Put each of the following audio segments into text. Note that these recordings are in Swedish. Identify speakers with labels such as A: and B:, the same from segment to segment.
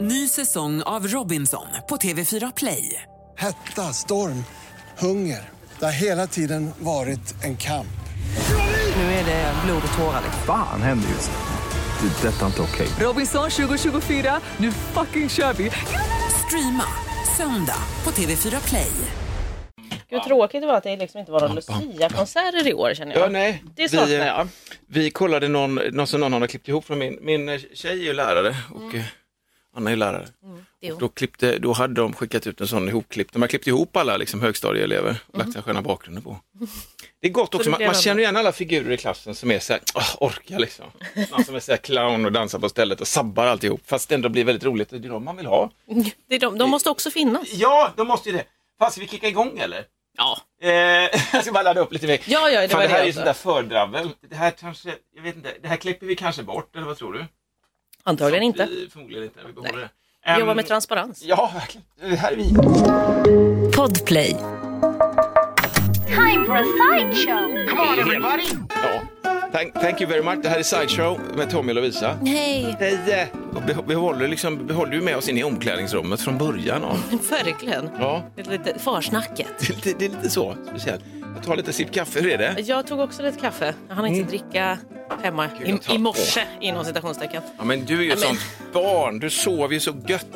A: Ny säsong av Robinson på TV4 Play.
B: Hetta, storm, hunger. Det har hela tiden varit en kamp.
A: Nu är det blod och tårar.
C: Fan händer just nu. Det. är Detta är inte okej.
A: Robinson 2024, nu fucking kör vi! Streama söndag på TV4 Play.
D: Gud vad tråkigt det var att det liksom inte var någon Lucia-konserter i år känner jag.
E: Ja, nej.
D: Det saknar
E: eh,
D: jag.
E: Vi kollade någon, någon som någon hade klippt ihop från min, min eh, tjej är ju lärare och eh, Anna är lärare.
D: Mm. är hon.
E: Och då, klippte, då hade de skickat ut en sån ihopklipp, de har klippt ihop alla liksom, högstadieelever och lagt sina sköna bakgrunder på. Det är gott också,
D: det
E: man,
D: Mm. blev
E: man
D: ändå-
E: känner igen alla figurer i klassen som är så här, "Åh, orka liksom. Någon som är så här clown och dansar på stället och sabbar alltihop, fast det ändå blir väldigt roligt och det är de man vill ha.
D: Det är de, de måste också finnas.
E: Ja, de måste ju det. Fan, ska vi kicka igång eller?
D: Ja.
E: Eh, jag ska bara ladda upp lite mer.
D: Ja, ja, det
E: Fan,
D: var
E: det
D: det alltså.
E: här är ju
D: jag
E: sånt där fördravel. Det här kanske, jag vet inte, det här klipper vi kanske bort, eller vad tror du?
D: Antagligen inte.
E: Vi, förmodligen inte, vi behåller det.
D: Vi
E: Ehm,
D: jobbar med transparens.
E: Ja, verkligen. Det här är vi.
F: Podplay.
G: time for a sideshow.
E: Ja. Thank, thank you very much. Det här är Sideshow med Tommy och Lovisa.
F: Hej!
E: Hej! eh. Och vi, vi, håller liksom, vi håller ju med oss in i omklädningsrummet från början av.
D: Verkligen.
E: Ja,
D: Det är lite försnacket.
E: det, är lite- det är lite så speciellt. Jag tar lite sipp kaffe, hur är det?
D: Jag tog också lite kaffe. Jag hann inte dricka hemma
E: Mm. jag
D: i,
E: tar-
D: i morse inom citationstecken.
E: Ja, men du är ju ett
D: Ja, men-
E: sånt barn, du sover ju så gött.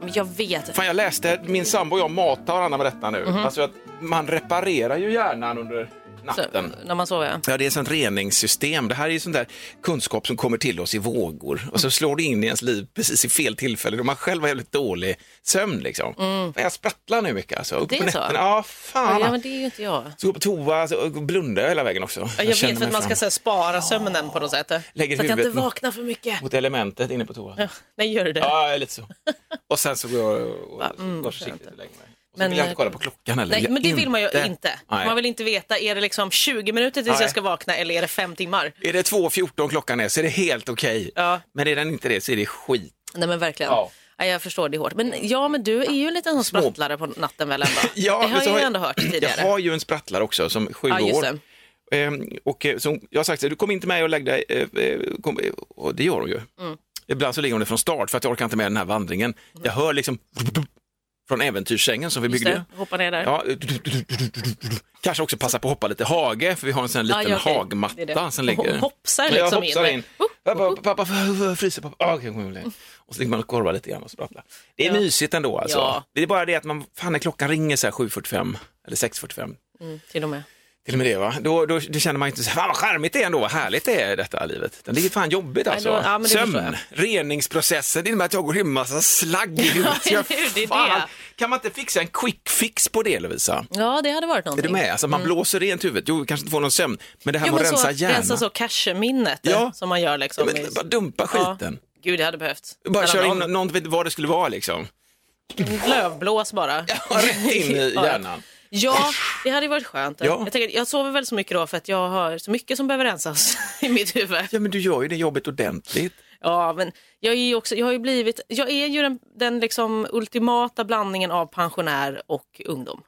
D: Men jag vet.
E: Fan, jag läste, min sambo och jag matar varandra med detta
D: Mhm.
E: nu. Alltså att man reparerar ju hjärnan under
D: Så,
E: natten.
D: när man sover.
E: Ja, det är ett sånt reningssystem. Det här är ju sån där kunskap som kommer till oss i vågor
D: Mm.
E: och så slår det in i ens liv precis i fel tillfälle då man själv har jävligt dålig sömn liksom. Fan, Jag sprattlar nu mycket alltså. Upp
D: Mm. Det är
E: på
D: så?
E: nätterna. Ja,
D: Ja,
E: fan.
D: men det är ju inte jag.
E: Så går på toa alltså, och blundar jag hela vägen också.
D: Jag,
E: känner
D: vet för
E: mig
D: att man ska
E: fram
D: så här, spara sömnen på något sätt.
E: Lägger
D: så att jag
E: huvudet
D: inte
E: mot-
D: vaknar för mycket.
E: mot elementet inne på toa.
D: Ja, Nej, gör du det?
E: Ja, jag är lite så. Och sen så går jag och, och
D: Mm,
E: går
D: skönt.
E: försiktigt och lägger mig. Och så
D: Men,
E: vill jag inte
D: eh,
E: kolla på klockan heller.
D: Nej,
E: Jag
D: men det vill man ju inte.
E: Nej.
D: Man vill inte veta, är det liksom 20 minuter tills
E: Nej.
D: jag ska vakna eller är det fem timmar?
E: Är det 2.14 klockan är så är det helt okej.
D: Ja.
E: Men är den inte det så är det skit.
D: Nej men verkligen.
E: Ja.
D: Nej, jag förstår det är hårt. Men ja, men du är ju en liten sån
E: Små-
D: sprattlare på natten väl ändå? det har
E: men så
D: jag ju ändå hört tidigare.
E: Jag har ju en sprattlare också som är sju
D: ja, just
E: år.
D: det.
E: Ehm, och eh, som jag har sagt, så här, du kommer inte med och lägg dig. eh, eh, kom, eh, och det gör hon ju.
D: Mm.
E: Ibland så ligger hon det från start för att jag orkar inte med den här vandringen. Jag hör liksom från äventyrssängen som vi
D: Just
E: byggde.
D: det. Hoppa ner där.
E: Ja, kanske också passa på att hoppa lite hage, för vi har en sån här liten
D: Ja, ja, okej. Det är det.
E: hagmatta som ligger.
D: Hon hoppsar
E: Ja, jag
D: liksom
E: hoppsar
D: in.
E: in. Pappa, pappa, pappa, fryser pappa. Ah, okej, kom igen. Och så ligger man och korvar lite grann och sprattlar. Det är
D: Ja.
E: mysigt ändå alltså.
D: Ja.
E: Det är bara det att man, fan när klockan ringer så här 7.45 eller 6.45,
D: Mm, till och med.
E: till och med det va, då, då det känner man inte så här, fan vad charmigt det är ändå, vad härligt det är i detta livet. Det är fan jobbigt alltså.
D: då- ja, men det
E: Sömn,
D: förstår
E: reningsprocessen, det innebär att jag går in med massa slagg i huvudet. Så jag-
D: eller hur, det är
E: fan,
D: det.
E: Kan man inte fixa en quick fix på det Lovisa?
D: Ja, det hade varit
E: Är du
D: någonting.
E: med? Alltså man blåser rent huvudet, jo vi kanske inte får någon sömn, men det här
D: Mm. Jo,
E: med
D: men
E: att rensa
D: så,
E: hjärnan.
D: rensa så cache-minnet eh,
E: Ja.
D: som man gör
E: Ja,
D: liksom.
E: men, bara dumpa skiten.
D: Ja. Gud, det hade behövts.
E: Bara
D: Mellan
E: köra in
D: dem.
E: någon vet vad det skulle vara liksom.
D: Lövblås bara.
E: Rätt in i
D: Ja.
E: hjärnan.
D: Ja, det hade ju varit skönt.
E: Ja.
D: Jag, tänker, jag sover väl så mycket då för att jag har så mycket som behöver rensas i mitt huvud.
E: Ja men du gör ju det jobbet ordentligt.
D: Ja, men jag, är ju också, jag har ju blivit, jag är ju den, den liksom ultimata blandningen av pensionär och ungdom.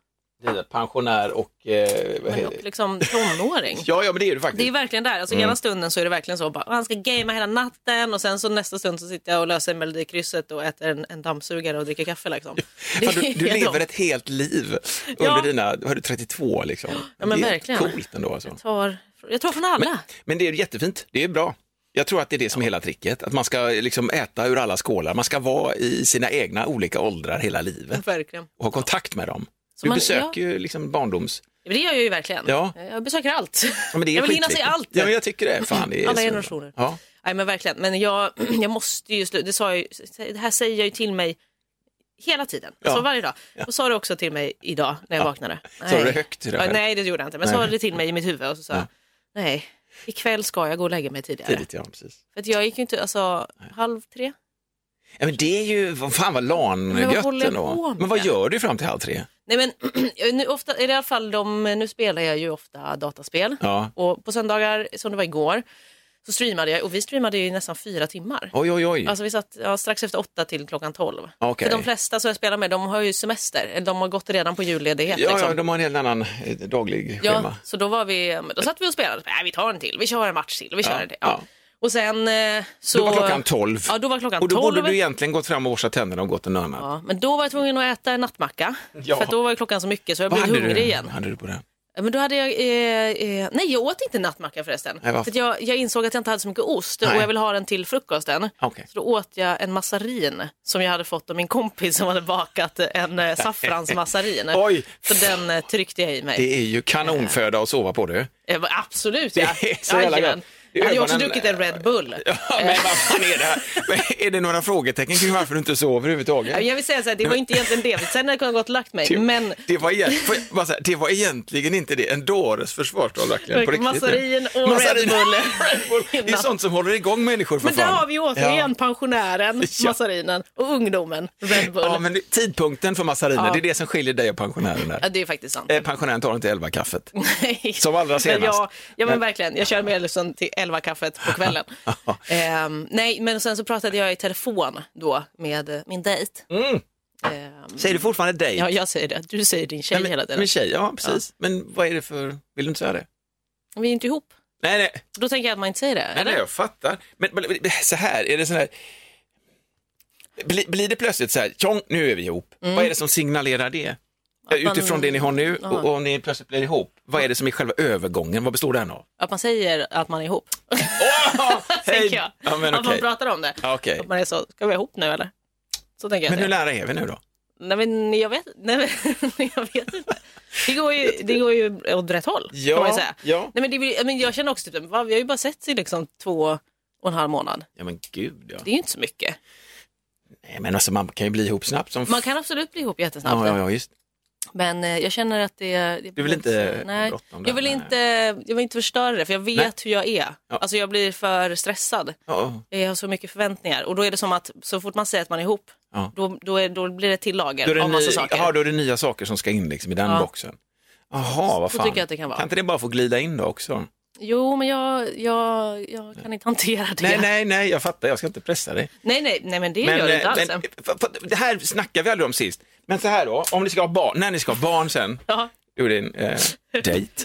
E: Det är pensionär och... Eh, vad
D: Men
E: heter
D: och
E: det?
D: liksom tonåring.
E: Ja, Mm. ja men det är du
D: Det är
E: faktiskt.
D: verkligen där, alltså ena stunden så är det verkligen så, bara, "Ah, han ska gamea hela natten och sen så nästa stund så sitter jag och löser melodikrysset och äter en, en dammsugare och dricker kaffe liksom. Det
E: Fan, du, du
D: är
E: lever
D: de-
E: ett helt liv under
D: Ja.
E: dina, vad är du 32 liksom.
D: Ja, men
E: det är
D: verkligen.
E: coolt ändå alltså.
D: tar, jag tar från alla.
E: Men, men det är jättefint, det är bra. Jag tror att det är det som är hela tricket, att man ska liksom äta ur alla skålar, man ska vara i sina egna olika åldrar hela livet
D: verkligen.
E: och ha kontakt med dem.
D: Så
E: Du
D: man-
E: besöker ju liksom barndoms...
D: Ja, men det gör jag ju verkligen.
E: Ja.
D: Jag besöker allt.
E: Ja, men det är
D: jag vill hinna se
E: skitviktigt.
D: allt. Mm.
E: Ja, men jag tycker det. Fan, det är
D: Alla
E: så-
D: generationer.
E: Ja.
D: Nej men verkligen, men jag, jag måste ju sluta. Det, sa jag, ju- det här säger jag ju till mig hela tiden, alltså
E: Ja.
D: varje dag. Och sa det också till mig idag när jag vaknade. Nej.
E: Sa du det högt till dig
D: Ja,
E: själv?
D: Nej det gjorde jag inte, men sa
E: Nej.
D: det till mig i mitt huvud och så sa jag, nej, ikväll ska jag gå och lägga mig tidigare.
E: Tidigt, ja, precis.
D: För att jag gick ju inte, alltså halv tre?
E: Ja, men det är ju, vad fan vad
D: Men vad
E: LAN-gött
D: håller jag på
E: ändå.
D: med?
E: Men vad gör du fram till halv tre?
D: Nej men nu, ofta, i alla fall de, nu spelar jag ju ofta dataspel.
E: Ja.
D: Och på söndagar, som det var igår, så streamade jag och vi streamade ju i nästan fyra timmar.
E: Oj, oj, oj.
D: Alltså vi satt ja, strax efter åtta till klockan tolv.
E: Ah, Okej.
D: För de flesta som jag spelar med, de har ju semester. Eller De har gått redan på julledighet.
E: ja,
D: liksom.
E: ja, de har en helt annan eh, daglig
D: ja,
E: schema.
D: så då, var vi, då satt vi och spelade. Nej, vi tar en till, vi kör en match till, vi kör
E: Ja,
D: en till. Ja.
E: ja.
D: Och sen eh, så...
E: Då var klockan 12.
D: Ja, då var klockan
E: och då
D: 12.
E: borde du egentligen gått fram och borstat tänderna och gått en nörnad.
D: Ja, men då var jag tvungen att äta en nattmacka.
E: Ja.
D: För att då var ju klockan så mycket så jag
E: Vad
D: blev
E: hade
D: hungrig
E: du,
D: igen.
E: vad hade du på det?
D: Ja, Men då hade jag, eh, eh, nej jag åt inte nattmacka förresten.
E: Nej, varför?
D: för att jag, jag insåg att jag inte hade så mycket ost
E: Nej.
D: och jag ville ha den till frukosten.
E: Okej.
D: Så då åt jag en massarin som jag hade fått av min kompis som hade bakat en eh, saffransmassarin.
E: Oj.
D: Så den eh, tryckte jag i mig.
E: Det är ju kanonföda att sova på du.
D: Eh, va- Absolut
E: Det
D: ja.
E: är så jävla
D: Jajamän.
E: gott. Det är
D: Jag hade ju också
E: ögonen-
D: druckit en Red Bull.
E: Ja, men
D: Eh.
E: vad fan är det här? Men Är det några frågetecken kring varför du inte sover
D: Ja,
E: överhuvudtaget?
D: Jag vill säga så här, det var inte egentligen det. Sen hade jag kunnat gått och lagt
E: Typ.
D: mig. Men
E: Det var, egent... får jag bara säga, det var egentligen inte det. En dåres försvarstal verkligen. På riktigt.
D: Massarin och Red Bull.
E: Red Bull. Det är sånt som håller igång människor för
D: Men där
E: fan.
D: har vi ju återigen
E: Ja.
D: pensionären,
E: Ja.
D: massarinen och ungdomen, Red Bull.
E: Ja, men det- tidpunkten för massarinen,
D: Ja.
E: det är det som skiljer dig och pensionären där.
D: Ja, det är faktiskt sant.
E: Eh, Pensionären tar inte elva kaffet.
D: Nej.
E: Eh, som allra
D: Men
E: senast. Eh.
D: Ja, ja men
E: Men-
D: verkligen. Jag kör Medelhavsön till 11 kaffet på kvällen. Ehm, nej, men sen så pratade jag i telefon då med eh, min dejt.
E: Mm.
D: Ehm,
E: Säger du fortfarande dig?
D: ja, jag säger det. Du säger din tjej
E: Nej, men,
D: hela tiden.
E: men tjej, ja precis. Men vad är det för, vill du inte säga det?
D: Vi är inte ihop.
E: Nej, nej,
D: Då tänker jag att man inte säger det.
E: nej,
D: eller?
E: nej jag fattar. Men, men men, så här, är det så här, bli, blir det plötsligt så här, tjong, nu är vi ihop. Vad är det som signalerar det?
D: Mm. Att man-
E: Utifrån det ni har nu och, och om ni plötsligt blir ihop, vad är det som är själva övergången? Vad består den av?
D: Att man säger att man är ihop.
E: Åh, hej!
D: tänker jag.
E: Ja, men
D: att man
E: okej.
D: pratar om det.
E: Ja, okej.
D: Att man är så, ska vi vara ihop nu eller? Så tänker jag
E: Men
D: att
E: hur
D: det
E: nära är vi nu då?
D: Nej men jag vet, nej, men, jag vet inte. Det går, ju, det går ju åt rätt håll
E: Ja,
D: kan man ju säga.
E: ja.
D: Nej, men, det, blir- men jag känner också typ, va, vi har ju bara sett i liksom två och en halv månad.
E: Ja men gud ja.
D: Det är ju inte så mycket.
E: Nej, men alltså man kan ju bli ihop snabbt som
D: Man kan absolut bli ihop jättesnabbt.
E: Ja, ja, ja, just.
D: Men eh, jag känner att det... det
E: Du vill inte
D: nej.
E: bråttom där,
D: jag vill
E: nej.
D: inte, jag vill inte förstöra det för jag vet
E: Nej.
D: hur jag är.
E: Ja.
D: Alltså jag blir för stressad.
E: Ja,
D: Jag har så mycket förväntningar och då är det som att så fort man säger att man är ihop
E: Ja.
D: då, då, är, då blir det ett till
E: Då är,
D: lager
E: det
D: av massa
E: ny,
D: saker.
E: aha, då är det nya saker som ska in liksom i den
D: Ja.
E: boxen. Jaha, vad
D: Så
E: fan.
D: tycker jag att det kan vara.
E: inte det bara få glida in då också?
D: Jo men jag, jag, jag kan inte hantera det.
E: Nej, nej, nej, jag fattar, jag ska inte pressa dig.
D: Nej, nej, nej men det gör det inte
E: eh,
D: alls.
E: men, f- f- det här snackade vi aldrig om sist. Men så här då, om ni ska ha barn, när ni ska ha barn sen,
D: ja.
E: då är det en eh, dejt.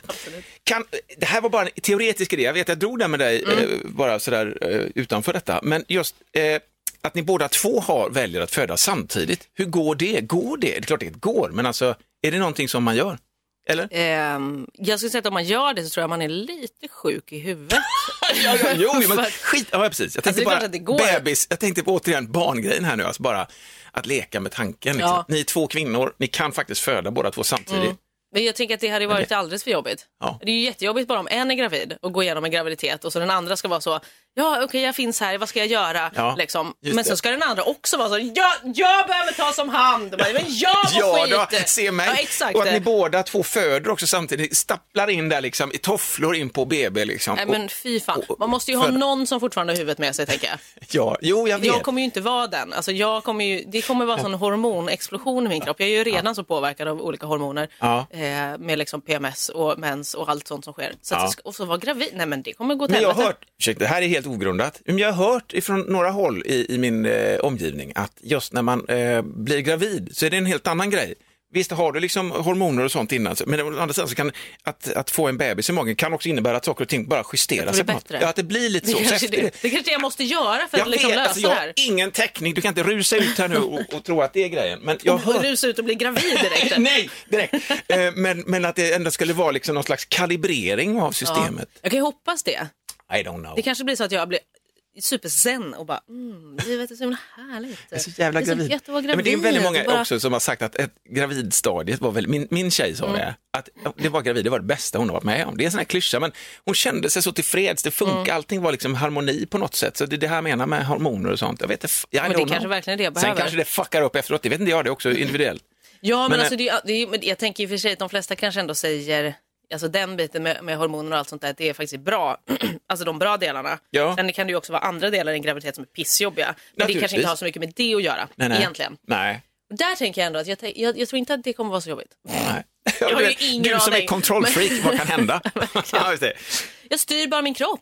E: Kan, det här var bara en teoretisk idé, jag vet jag drog den med dig
D: Mm.
E: eh, bara sådär eh, utanför detta, men just eh, att ni båda två har, väljer att föda samtidigt, hur går det? Går det? Det är klart det går, men alltså är det någonting som man gör? Eller?
D: Ehm, jag skulle säga att om man gör det så tror jag man är lite sjuk i huvudet.
E: Ja, ja, jo, jo, men
D: För-
E: skit, ja precis. Jag tänkte
D: Alltså, det är klart
E: bara,
D: att det går.
E: bebis, jag tänkte på återigen barngrejen här nu, alltså bara att leka med tanken. Liksom.
D: Ja. Mm.
E: Ni är två kvinnor, ni kan faktiskt föda båda två samtidigt.
D: Men jag tänker att det hade varit alldeles för jobbigt.
E: Ja.
D: Det är ju jättejobbigt bara om en är gravid och går igenom en graviditet och så den andra ska vara så, ja okej jag finns här, vad ska jag göra?
E: Ja,
D: liksom.
E: just
D: Men
E: det.
D: så ska den andra också vara så, ja, jag behöver tas om hand. Bara, Men jag
E: Ja,
D: mår
E: då,
D: skit.
E: se mig.
D: Ja, exakt.
E: och att ni båda två föder också samtidigt, Ni stapplar in där liksom i tofflor in på BB liksom.
D: Nej
E: Och-
D: men fy fan,
E: och-
D: man måste ju ha
E: för-
D: någon som fortfarande har huvudet med sig tänker jag.
E: Ja, jo, jag vet.
D: Jag kommer ju inte vara den. Alltså jag kommer ju, det kommer vara en sån hormonexplosion i min kropp. Jag är ju redan så påverkad av olika hormoner
E: Ja.
D: eh, med liksom PMS och mens och allt sånt som sker. Så att
E: Ja.
D: jag ska, och så vara gravid, nej men det kommer gå till
E: Men jag har
D: helvete.
E: hört, ursäkta, det här är helt ogrundat, men jag har hört ifrån några håll i, i min eh, omgivning att just när man eh, blir gravid så är det en helt annan grej. Visst har du liksom hormoner och sånt innan, så- men å andra sidan så kan att, att få en bebis i magen kan också innebära att saker och ting bara justerar
D: blir
E: sig. på något.
D: bättre.
E: Ja, att det blir lite
D: Det
E: så. Så
D: kanske,
E: efter
D: det, det kanske jag måste göra för att
E: jag
D: liksom
E: vet,
D: lösa
E: alltså, jag
D: det
E: har
D: här.
E: ingen teknik, du kan inte rusa ut här nu och, och tro att det är grejen. Men jag har
D: Och
E: hört
D: rusa ut och bli gravid direkt.
E: Nej, direkt. Eh, men, men att det ändå skulle vara liksom någon slags kalibrering av
D: Ja.
E: systemet.
D: Jag kan ju hoppas det.
E: I don't know.
D: Det kanske blir så att jag blir superzen och bara, mm, livet är så himla härligt.
E: Jag är så jävla
D: det är
E: gravid.
D: Så gött att vara
E: Ja,
D: gravid.
E: men det är väldigt många
D: och bara,
E: också som har sagt att ett gravidstadiet var väl, min, min tjej
D: Mm.
E: sa det, att det var gravid, det var det bästa hon har varit med om. Det är en sån här klyscha, men hon kände sig så tillfreds, det funkar,
D: Mm.
E: allting var liksom harmoni på något sätt. Så det är det här jag menar med hormoner och sånt. Jag vet inte, jag
D: Men det kanske verkligen är det jag
E: Sen
D: behöver.
E: kanske det fuckar upp efteråt, det vet inte jag, det är också individuellt.
D: Ja, men,
E: Men,
D: alltså,
E: eh,
D: det, är ju- det, är ju- men jag tänker i och för sig att de flesta kanske ändå säger, alltså den biten med, med hormoner och allt sånt där, att det är faktiskt bra, alltså de bra delarna.
E: Ja.
D: Sen kan det ju också vara andra delar i en graviditet som är pissjobbiga. Men det kanske
E: Naturligtvis.
D: inte har så mycket med det att göra egentligen.
E: Nej.
D: Och där tänker jag ändå att jag, tän- jag, jag tror inte att det kommer vara så jobbigt.
E: Nej.
D: har
E: du,
D: ju
E: vet,
D: ingen
E: du som är
D: aning.
E: kontrollfreak, vad kan hända? ja, just det.
D: Jag styr bara min kropp,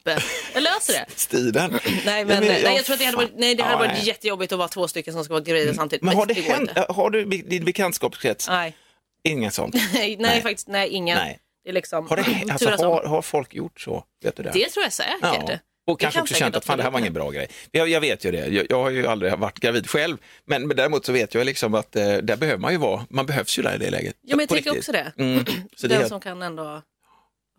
D: jag löser det.
E: Stilen.
D: Nej, men, nej, jag tror att det hade varit, nej, det hade
E: Ja,
D: varit
E: nej. Mm.
D: jättejobbigt att vara två stycken som ska vara gravida samtidigt.
E: Men har det
D: går
E: hänt,
D: inte.
E: har du i din bekantskapskrets,
D: Nej.
E: inget sånt?
D: Nej, nej, faktiskt, nej, ingen.
E: Nej.
D: Det är liksom,
E: Har, det, alltså,
D: turas om.
E: har, har folk gjort så? Vet du det?
D: det tror jag säkert.
E: Ja. Och kanske
D: kan
E: också
D: säkert
E: känt att fan, det här var ingen
D: absolut
E: bra grej. Jag, jag vet ju det, jag, jag har ju aldrig varit gravid själv, men, men däremot så vet jag liksom att eh, där behöver man ju vara, man behövs ju där i det läget.
D: Ja, men jag
E: På
D: tänker
E: riktigt.
D: också det.
E: Mm. Så det,
D: Den
E: är-
D: som kan ändå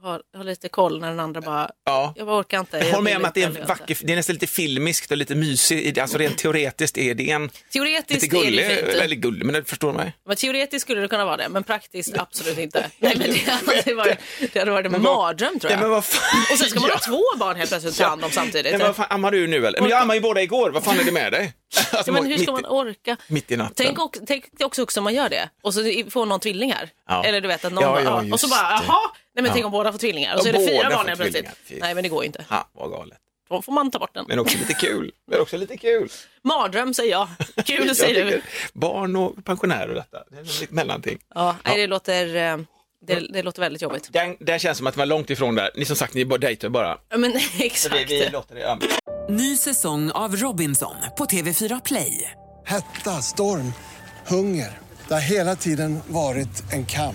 D: ha, ha lite koll när den andra bara,
E: ja.
D: jag bara orkar inte.
E: Jag
D: jag
E: håller med
D: vill
E: om att det är,
D: inte,
E: en
D: jag vill
E: vacker, det är nästan lite filmiskt och lite mysigt, alltså rent teoretiskt är det en,
D: inte. Teoretiskt
E: lite
D: är
E: gullig,
D: det ju fint.
E: eller gullig, men det förstår mig.
D: Men teoretiskt skulle det kunna vara det, men praktiskt absolut inte. Nej, men det, hade varit, det hade varit en
E: Men vad-
D: mardröm tror
E: Nej,
D: jag.
E: men vad fan.
D: Och sen ska man
E: Ja.
D: ha två barn helt plötsligt att ta hand om samtidigt.
E: Nej, men vad fan, ammar du nu eller? Men jag ammade ju båda igår, vad fan är det med dig? Alltså,
D: Ja, men hur ska
E: mitt i-
D: man orka?
E: mitt i natten.
D: Tänk också, tänk dig också, också om man gör det och så i- får någon tvillingar.
E: Ja.
D: Eller du vet att någon
E: Ja,
D: bara,
E: ja,
D: ja, och så
E: just
D: bara,
E: det.
D: jaha, nej men tänk om båda får tvillingar och så
E: Ja,
D: är det
E: båda
D: fyra
E: får
D: barn helt plötsligt.
E: tvillingar. Fy.
D: Nej men det går ju inte.
E: Ja, vad galet.
D: Då får man ta bort den.
E: Men också lite kul. Men också lite kul.
D: Mardröm säger jag. Kul
E: Jag
D: säger du.
E: tycker Barn och pensionärer och detta. Det är ett litet mellanting.
D: Ja, nej, det, låter, eh, det, det låter väldigt jobbigt.
E: Den, den känns som att man är långt ifrån där. Ni som sagt, ni bara dejtar bara.
D: Ja, Men
E: Så vi,
D: exakt.
E: vi låter det. ja.
A: Ny säsong av Robinson på TV4 Play.
B: Hetta, storm, hunger. Det har hela tiden varit en kamp.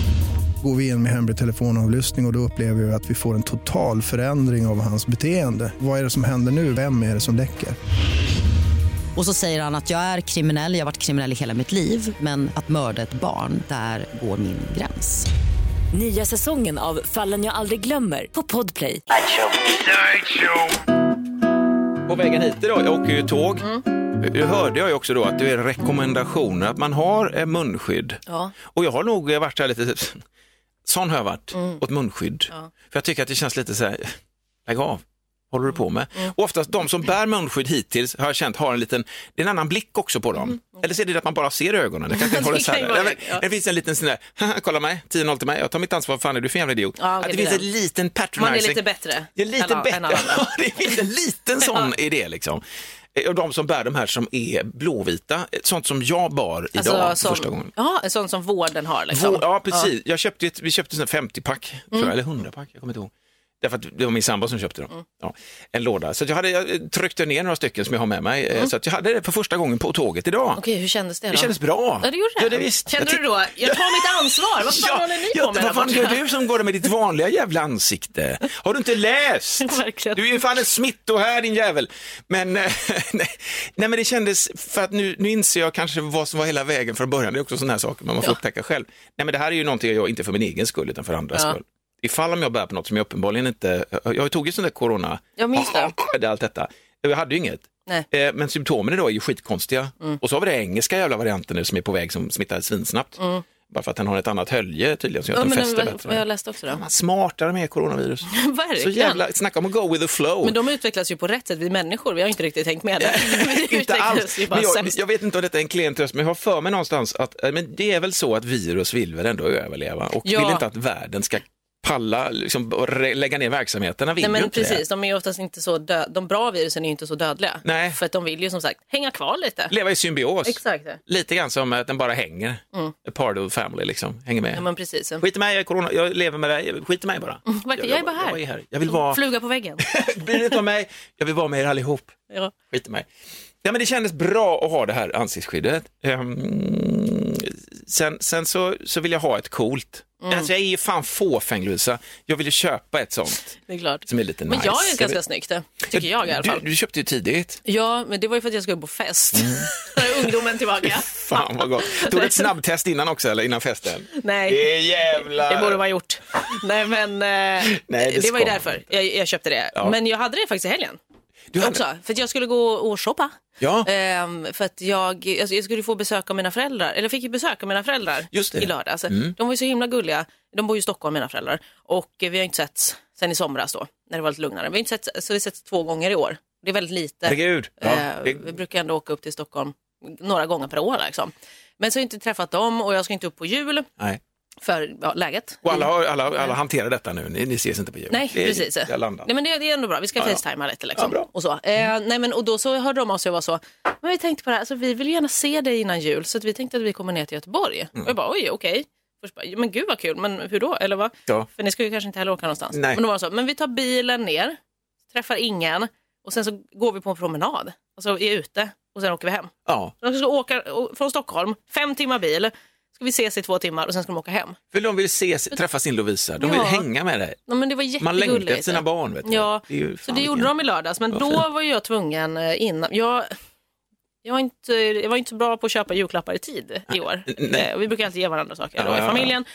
G: går vi in med hemlig telefonavlyssning och, och då upplever vi att vi får en total förändring av hans beteende. Vad är det som händer nu? Vem är det som läcker?
H: Och så säger han att jag är kriminell, jag har varit kriminell i hela mitt liv men att mörda ett barn, där går min gräns.
F: Nya säsongen av Fallen jag aldrig glömmer på Podplay.
E: På vägen hit idag, jag åker ju tåg.
D: Mm.
E: Nu hörde jag ju också då att det är rekommendationer att man har eh, munskydd.
D: Ja.
E: Och jag har nog eh, varit så här lite, sån har jag varit,
D: Mm.
E: åt munskydd. För jag tycker att det känns lite så här, lägg av, håller du på med?
D: Mm.
E: Och oftast de som bär munskydd hittills har jag känt har en liten, det är en annan blick också på dem. Eller så är det att man bara ser ögonen, det kanske
D: Mm. Det
E: håller så
D: kan
E: här.
D: vara
E: Nej, men
D: det, ja.
E: Det finns en liten sån där, kolla mig, 10-0 till mig, jag tar mitt ansvar, fan är du för jävla idiot?
D: Ja,
E: att
D: okej,
E: det
D: det
E: finns
D: är
E: en liten patronizing.
D: Man är lite bättre.
E: Det är lite
D: än- än
E: bättre.
D: alla andra.
E: det finns en liten sån idé liksom. Eh, Och de som bär de här som är blåvita, eh, sånt som jag bar idag för
D: Alltså, som,
E: första gången.
D: Ja, en sån som vården har. Liksom. Mm.
E: Vår, ja, precis. Jag köpte ett, vi köpte sån här 50-pack, tror jag, eller 100-pack, jag kommer inte ihåg. Därför att det var min sambo som köpte dem. Ja, en låda. Så att jag, hade, jag tryckte ner några stycken som jag har med mig. eh, Så att jag hade det för första gången på tåget idag.
D: Mm. Okej, hur kändes det då?
E: Det kändes bra.
D: Ja, det gjorde det.
E: Ja, det visst.
D: Kände
E: Jag
D: du då, jag tar mitt ansvar, vad fan håller ni på med?
E: Vad fan
D: där
E: gör
D: borta?
E: du som går där med ditt vanliga jävla ansikte? Har du inte läst?
D: Verkligen.
E: Du är ju fan en smitto här din jävel. Men, eh, nej, nej, men det kändes, för att nu, nu inser jag kanske vad som var hela vägen från början. Det är också sådana här saker man får upptäcka själv. Nej men det här är ju någonting jag, inte för min egen skull, utan för andras
D: Ja.
E: skull. Ifall om jag bär på något som jag uppenbarligen inte, jag tog ju sån där corona,
D: Jag minns det.
E: det är allt detta. Jag hade ju inget.
D: Nej. Mm.
E: Eh, Men symptomen idag är ju skitkonstiga. Och så har vi den engelska jävla varianten nu som är på väg som smittar svinsnabbt. Bara för att den har ett annat hölje tydligen som gör
D: Mm. Ja,
E: att den
D: men, eh,
E: fäster
D: vad, vad jag
E: bättre.
D: läste också då.
E: Man smartare med coronavirus.
D: Verkligen.
E: Så jävla, snacka om att go with the flow.
D: Men de utvecklas ju på rätt sätt, vi människor, vi har inte riktigt tänkt med det. Vi
E: inte
D: utvecklas
E: alls.
D: ju bara
E: Men jag,
D: sämst.
E: jag vet inte om detta är en klen tröst, men jag har för mig någonstans att eh, men det är väl så att virus vill väl ändå överleva och
D: Ja.
E: vill inte att världen ska palla, liksom, och re- lägga ner verksamheterna. Vill
D: Nej,
E: ju
D: men
E: inte
D: precis, de är ju oftast inte så dö- de bra virusen är ju inte så dödliga.
E: Nej.
D: För att de vill ju som sagt hänga kvar lite.
E: det. Leva i symbios.
D: Exakt.
E: Lite grann som att den bara hänger. A part of the family, liksom. hänger med.
D: Mm. Ja, men precis.
E: Skit i mig, jag, är corona, jag lever med dig, skit i mig bara.
D: verkligen, jag är bara här.
E: Jag, jag vill vara,
D: Fluga på väggen.
E: bryr dig inte om mig, jag vill vara med er allihop.
D: Ja.
E: Skit i mig. Ja, men det kändes bra att ha det här ansiktsskyddet. Ehm, sen sen så, så vill jag ha ett coolt.
D: Mm.
E: Alltså, jag är ju fan fåfäng Lovisa. Jag vill ju köpa ett sånt
D: Det är klart.
E: som är lite
D: Men
E: nice.
D: jag är ganska
E: vill-
D: snyggt, det tycker jag i alla fall.
E: Du, Mm. du köpte ju tidigt.
D: Ja, men det var ju för att jag skulle på fest. Där är ungdomen tillbaka.
E: Fan vad gott. Tog du ett snabbtest innan också eller innan festen?
D: Nej.
E: Det är
D: Det
E: jävlar.
D: borde man ha gjort. Nej, men eh,
E: Nej, det
D: det, var ju
E: ska
D: därför
E: man
D: jag, jag köpte det.
E: Ja.
D: Men jag hade det faktiskt i helgen
E: Du hade-
D: också. För att jag skulle gå och shoppa.
E: Ja.
D: Ehm, för att jag, alltså, jag skulle få besök av mina föräldrar, eller jag fick ju besök av mina föräldrar
E: Just det. Mm.
D: i lördags. De var ju så himla gulliga. De bor ju i Stockholm mina föräldrar och eh, vi har ju inte setts sen i somras då, när det var lite lugnare. Vi har inte setts, så vi har setts två gånger i år. Det är väldigt lite.
E: Herregud. Ja,
D: Eh,
E: det-
D: Vi brukar ändå åka upp till Stockholm några gånger per år liksom. Men så har jag inte träffat dem och jag ska inte upp på jul.
E: Nej.
D: för ja, läget.
E: Och alla, har- alla, alla hanterar detta nu, ni, ni ses inte på jul.
D: Nej,
E: Typ. det, är-
D: precis.
E: Jag landar.
D: Nej, men det, det är ändå bra. Vi ska
E: Ja, ja.
D: facetimea lite. Liksom.
E: Ja, bra. Mm.
D: och, så. Eh, nej, men, och då så hörde de av sig och var så, men vi tänkte på det här, alltså, vi vill gärna se dig innan jul så att vi tänkte att vi kommer ner till Göteborg.
E: Mm.
D: Och jag bara, oj, okej. Först bara, men gud vad kul, men hur då? Eller vad?
E: Ja.
D: För ni ska ju kanske inte heller åka någonstans.
E: Nej.
D: Men då var det så, men vi tar bilen ner, träffar ingen och sen så går vi på en promenad. Alltså är ute och sen åker vi hem.
E: Ja.
D: De ska åka och- från Stockholm, fem timmar bil, ska vi ses i två timmar och sen ska de åka hem.
E: För de vill ses, träffa sin Lovisa, de vill
D: Ja.
E: hänga med dig.
D: Ja, men det var jättegulligt.
E: Man längtar efter sina barn. Vet du.
D: Ja,
E: Det är ju
D: så
E: fan
D: det gjorde
E: vilken-
D: de i lördags, men
E: Vad
D: då
E: fint.
D: var jag tvungen eh, innan. Jag, jag, var inte, jag var inte så bra på att köpa julklappar i tid i år.
E: nej.
D: Eh, Vi brukar alltid ge varandra saker
E: Ja,
D: då,
E: ja,
D: i
E: ja.
D: familjen.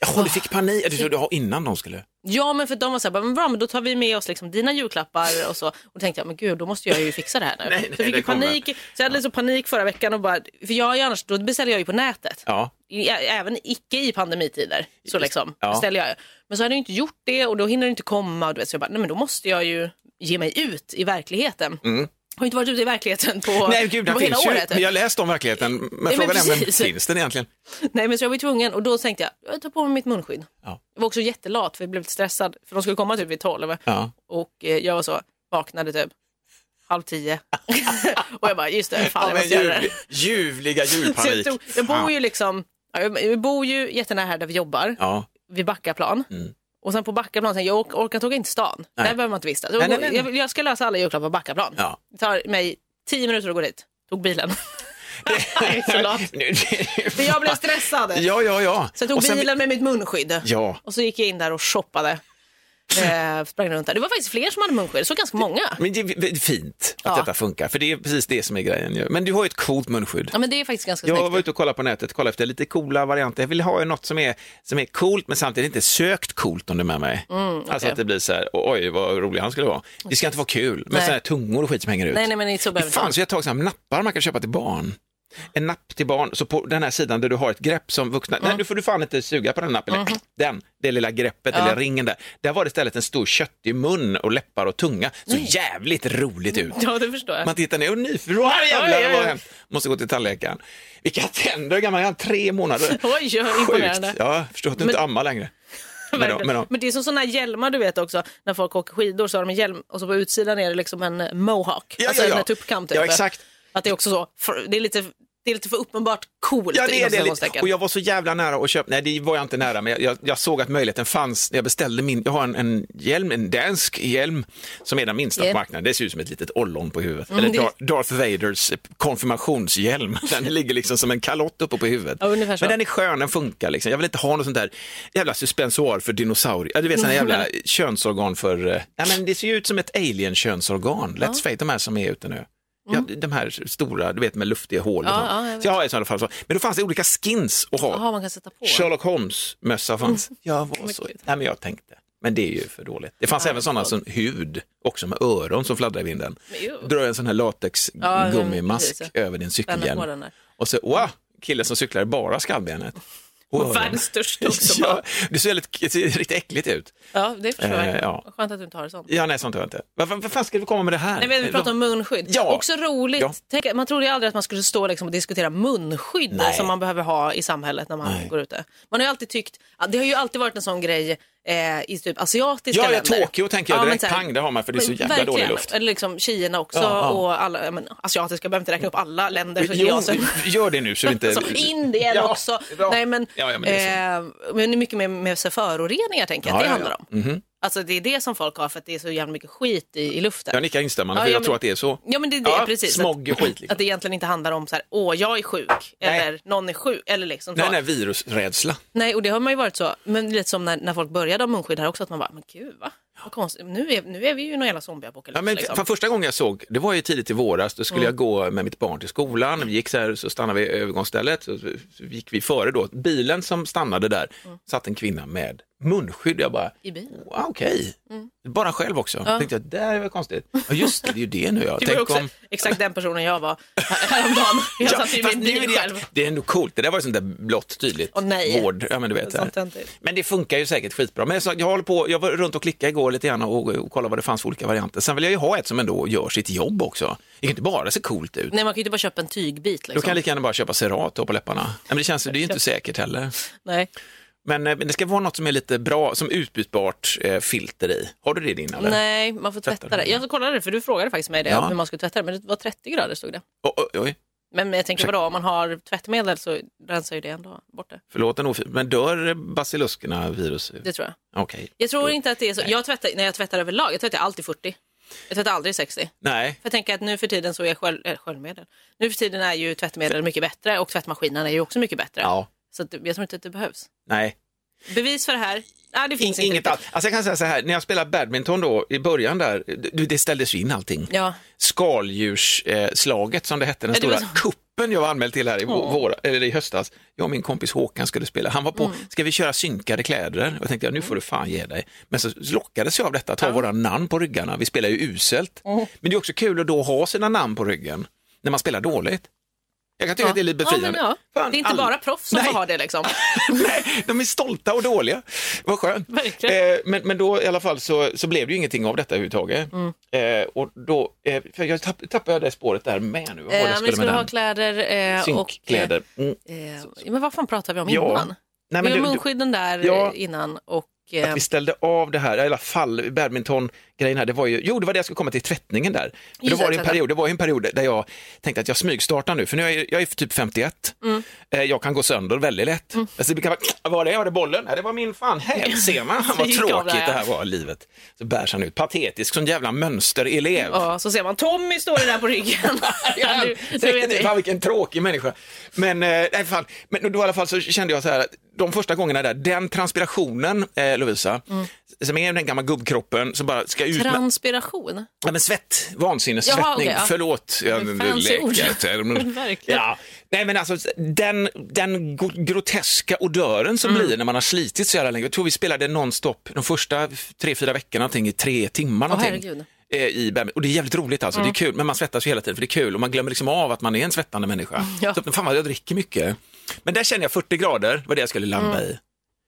E: Jaha, du fick panik. Ja, Du trodde ja, innan de skulle...
D: Ja, men för de var så här, bara, men bra, men då tar vi med oss liksom dina julklappar och så. Och då tänkte jag, men gud, då måste jag ju fixa det här nu.
E: Nej, nej,
D: så jag fick
E: det
D: ju
E: kommer.
D: panik, så jag hade liksom panik förra veckan och bara, för jag har ju annars, då beställer jag ju på nätet.
E: Ja,
D: I- ä- även icke i pandemitider. Så liksom,
E: Ja.
D: ställer jag. ju. Men så hade jag ju inte gjort det och då hinner det inte komma. Och du vet, så jag bara, nej men då måste jag ju ge mig ut i verkligheten. Har ju inte varit ute i verkligheten på,
E: Mm. Nej, gud, den
D: på hela
E: finns ju.
D: året.
E: Jag har läst om verkligheten, men
D: men
E: frågan är, men
D: precis.
E: finns den egentligen?
D: Nej men så jag var ju tvungen och då tänkte jag, jag tar på mig mitt munskydd.
E: Ja.
D: Jag var också jättelat för jag blev lite stressad för de skulle komma typ vid tolv.
E: Ja.
D: Och eh, jag var så, vaknade typ halv tio. och jag bara, just det, fan jag måste göra det.
E: ljuvliga
D: Så jag, tog, jag bor ju liksom, ja, jag jag bor ju jättenära här där vi jobbar.
E: Ja.
D: vid Backaplan. Och sen på Backaplan, sen, jag ork- orkar inte åka in till stan. Där behöver man inte vistas.
E: Nej, nej, nej.
D: Jag, jag ska lösa alla julklappar på Backaplan.
E: Ja.
D: Det tar mig tio minuter att gå dit. Tog bilen. Nej, Förlåt. För jag blev stressad.
E: Ja, ja, ja.
D: Så jag tog
E: Och sen-
D: bilen med mitt munskydd.
E: Ja.
D: Och så gick jag in där och shoppade. Eh, sprang runt där. Det var faktiskt fler som hade munskydd. Så ganska många.
E: Men det är det är fint att
D: Ja.
E: detta funkar, för det är precis det som är grejen. ju. Men du har ju ett coolt munskydd.
D: Ja, men det är faktiskt ganska
E: Jag
D: snyggt.
E: var ute och kollade på nätet, kollade efter lite coola varianter. Jag vill ha något som är, som är coolt men samtidigt inte sökt coolt om du är med mig.
D: Mm,
E: Alltså att det blir så här, oj vad rolig han skulle vara. Det ska inte vara kul, men
D: Nej.
E: sådana här tungor och skit som hänger ut.
D: Nej, nej, men det är så
E: det
D: behöver
E: fanns ju ett tag sedan nappar man kan köpa till barn. En napp till barn, så på den här sidan där du har ett grepp som vuxna, nej nu får du fan inte suga på den nappen, eller
D: Mhm.
E: den, det lilla greppet eller ringen där. Där var det istället en stor köttig mun och läppar och tunga. Så jävligt roligt ut.
D: Ja, det förstår jag.
E: Man tittar ner och nyfiken. Åh, jävlar,
D: Oj, oj,
E: vad har
D: oj.
E: hänt? Måste gå till tandläkaren. Vilka tänder, hur gammal är han? Tre månader.
D: Oj, ja,
E: Sjukt.
D: imponerande.
E: Ja, jag förstår att du inte
D: Men-
E: ammar längre. Men, då, men, då.
D: Men det är som sådana här hjälmar du vet också, när folk åker skidor så har de en hjälm och så på utsidan är det liksom en mohawk,
E: Ja,
D: alltså
E: ja, ja.
D: en tuppkam typ.
E: Ja, exakt.
D: Att det är också så, för, det, är lite, det är lite för uppenbart coolt.
E: Ja, det är
D: inom
E: det.
D: citationstecken.
E: lite. Och jag var så jävla nära att köpa, nej det var jag inte nära, men jag- jag, jag såg att möjligheten fanns när jag beställde min, jag har en, en hjälm, en dansk hjälm, som är den minsta
D: Hjälm.
E: på marknaden. Det ser ut som ett litet ollon på huvudet.
D: Mm,
E: Eller
D: det-
E: Dar- Darth Vaders konfirmationshjälm. Den ligger liksom som en kalott uppe på huvudet.
D: Ja, ungefär så.
E: men den är skön, den funkar liksom. Jag vill inte ha något sånt där jävla suspensoar för dinosaurier. Ja, Du vet sådana jävla könsorgan för, eh, ja men det ser ju ut som ett alien-könsorgan. Let's face de här som är ute nu. Ja, de här stora, du vet med luftiga hål och
D: Mm. Ja,
E: sånt.
D: ja, jag vet.
E: Så jag har i sådana fall. så. Men då fanns det olika skins att ha.
D: Jaha, man kan sätta på.
E: Sherlock Holmes-mössa fanns.
D: Mm.
E: Jag var så... Nej, men jag tänkte. Men det är ju för dåligt. Det fanns även sådana som hud, också med öron som fladdrar i vinden.
D: ju.
E: Dra en sån här
D: Ja, men
E: latexgummimask
D: precis, ja.
E: över din
D: Spänna på den
E: cykelhjälm.
D: där.
E: Och så, wow, killen som cyklar bara skallbenet. Och öronen.
D: Världens största också.
E: ja, det ser, väldigt, det ser riktigt äckligt ut.
D: Ja, det förstår jag.
E: Eh, ja.
D: Vad Skönt att du inte har det sånt.
E: Ja, nej, sånt har jag inte. Varför, varför fan ska vi komma med det här?
D: Nej, men vi pratar om munskydd.
E: Ja.
D: Också roligt.
E: Ja.
D: Tänk, man trodde ju aldrig att man skulle stå liksom och diskutera munskydd
E: Nej.
D: som man behöver ha i samhället när man
E: Nej.
D: går ute. Man har ju alltid tyckt, det har ju alltid varit en sån grej eh, i typ asiatiska
E: Ja, ja,
D: länder.
E: Tokyo tänker jag
D: men
E: direkt.
D: så här-
E: Pang, det har man för det är så jävla
D: Verkligen.
E: dålig luft.
D: Eller liksom Kina också
E: Ja, ja.
D: och alla ja, men, asiatiska, jag behöver inte räkna upp alla länder. Så
E: Jo,
D: jag så,
E: gör det nu så vi inte...
D: alltså, Indien
E: Ja,
D: också.
E: bra.
D: Nej, men,
E: Ja, ja, men det är
D: eh, men det är mycket med, med så här föroreningar tänker jag att
E: Ja,
D: det
E: ja, Mhm. ja.
D: handlar om. Alltså det är det som folk har för att det är så jävla mycket skit i, i luften.
E: Jag nickar instämmande,
D: Ja,
E: för
D: ja,
E: jag
D: men-
E: tror att det är så.
D: Ja men det är det,
E: Ja,
D: precis.
E: smog och
D: att,
E: skit, liksom.
D: att det egentligen inte handlar om så här, åh jag är sjuk,
E: Nej.
D: eller någon är sjuk, eller liksom
E: Nej,
D: så.
E: nej, virusrädsla.
D: Nej, och det har man ju varit så, men lite som när, när folk började ha munskydd här också, att man bara, men gud va? Vad konstigt, nu är, nu är vi ju någon jävla zombieapokalyps.
E: Ja, men
D: liksom. Mm.
E: för första gången jag såg, det var ju tidigt i våras, då skulle jag gå med mitt barn till skolan, vi gick så här, så stannade vi i övergångsstället, så, så gick vi före då. Bilen som stannade där satt en kvinna med munskydd. Jag bara,
D: Mm. I bilen. Mm.
E: "Wow, okej. Bara själv också. Tänkte jag, det är väl konstigt. Ja, just det, det är ju det nu. Jag.
D: Du var
E: Tänk
D: också
E: om...
D: exakt den personen jag var här- häromdagen. Jag satt ju i
E: fast
D: min
E: nu är
D: bil
E: det,
D: själv.
E: det är ändå coolt, det där var ju sånt där blått tydligt.
D: Åh, nej.
E: Vård, ja men du vet. så här.
D: Sånt töntigt.
E: Men det funkar ju säkert skitbra. Men så, jag, håller på, jag var runt och klickade igår lite grann och, och kollade vad det fanns för olika varianter. Sen vill jag ju ha ett som ändå gör sitt jobb också. Det kan ju inte bara se coolt ut.
D: Nej, man kan ju inte bara köpa en tygbit.
E: Då
D: Liksom.
E: kan jag lika gärna bara köpa Cerat och ha på läpparna. Nej, Men det känns ju, det är ju inte säkert heller.
D: Nej.
E: Men eh, det ska vara något som är lite bra, som utbytbart eh, filter i. Har du det i din? Eller?
D: Nej, man får tvätta
E: Tvättar
D: det.
E: du?
D: Jag kollade det, för du frågade faktiskt mig det,
E: Ja.
D: hur man skulle tvätta det, men det var 30 grader stod det.
E: Oj, oj, oj,
D: Men jag tänker vadå, om man har tvättmedel så rensar ju det ändå bort det.
E: förlåt en ofin- Men dör basiluskerna virus?
D: Det tror jag.
E: Okej.
D: Jag tror
E: Då-
D: inte att det är så. Jag tvättar, när jag tvättar överlag, jag tvättar alltid 40. Jag tvättar aldrig 60. För
E: Nej,
D: jag tänker att nu för tiden så är sköl, äh, sköljmedel. Nu för tiden är ju tvättmedel mycket bättre och tvättmaskinen är ju också mycket bättre.
E: ja,
D: Så att, jag tror inte att det behövs.
E: nej.
D: Bevis för det här? Nej, det finns
E: In,
D: inte.
E: inget
D: riktigt.
E: alls. Alltså jag kan säga så här, när jag spelade badminton då i början där, det, det ställdes ju in allting.
D: Ja.
E: Skaldjursslaget eh, slaget, som det hette, den
D: Ja, det var
E: stora kuppen jag var anmäld till här i, vå- våra, eller i höstas. Jag och min kompis Håkan skulle spela. Han var på,
D: Mm.
E: ska vi köra synkade kläder? Jag tänkte, ja, nu får du fan ge dig. Men så lockades jag av detta, ta våra namn på ryggarna. Vi spelar ju uselt. Men det är också kul att då ha sina namn på ryggen när man spelar dåligt. Jag kan tycka
D: Ja.
E: att det är lite
D: Ja, men
E: befriande.
D: ja.
E: Fan,
D: Det är inte
E: all-
D: bara proffs som
E: Nej.
D: får ha det liksom.
E: Nej, de är stolta och dåliga. Vad skönt.
D: Verkligen.
E: Eh, men, men då i alla fall så, så blev det ju ingenting av detta överhuvudtaget.
D: Mm.
E: Eh, och då, eh, för jag tapp, tappade jag det spåret där med nu. Vad var det jag
D: Eh, men vi skulle
E: med
D: ha
E: den?
D: kläder eh, och...
E: Synkkläder. Mm.
D: Eh, eh, men vad fan pratar vi om
E: Ja.
D: innan?
E: Nej,
D: vi
E: men
D: har
E: det-
D: munskydden där eh,
E: Ja.
D: innan och...
E: att
D: Eh,
E: vi ställde av det här, i alla fall badminton-grejen här, det var ju, jo det var det jag skulle komma till, tvättningen där. För det,
D: Just det,
E: var ju en
D: tvätta.
E: period, det var ju en period där jag tänkte att jag smygstartar nu, för nu är jag, jag är typ 51,
D: Mm.
E: Eh, jag kan gå sönder väldigt lätt. Alltså, det kan vara, var det, var det bollen? Nej, det var min fan häl, ser man vad
D: gick av
E: tråkigt
D: där, ja.
E: det här var, livet. Så bärs han ut, patetisk som jävla mönsterelev.
D: ja, så ser man Tommy står det där på ryggen.
E: Ja,
D: du, du vet
E: det,
D: vi.
E: fan vilken tråkig människa. Men, eh, nej, fan, men då i alla fall så kände jag så här, att de första gångerna där, den transpirationen eh, Lovisa,
D: Mm.
E: som är den gamla gubbkroppen som bara ska ut med,
D: Transpiration.
E: ja, men svett, vansinnessvettning,
D: Jaha, okej, ja.
E: förlåt. Ja, men det
D: fancy ord.
E: läkartermen.
D: Verkligen.
E: ja. Nej men alltså den, den go- groteska odören som
D: Mm.
E: blir när man har slitit så jävla länge. Jag tror vi spelade nonstop de första tre, fyra veckorna någonting, i tre timmar någonting
D: herregud.
E: eh, i badminton. Och det är jävligt roligt alltså, det är kul, men man svettas ju hela tiden för det är kul och man glömmer liksom av att man är en svettande människa.
D: Mm. Ja.
E: Så, fan vad jag dricker mycket. Men där känner jag 40 grader var det jag skulle landa i.
D: Mm.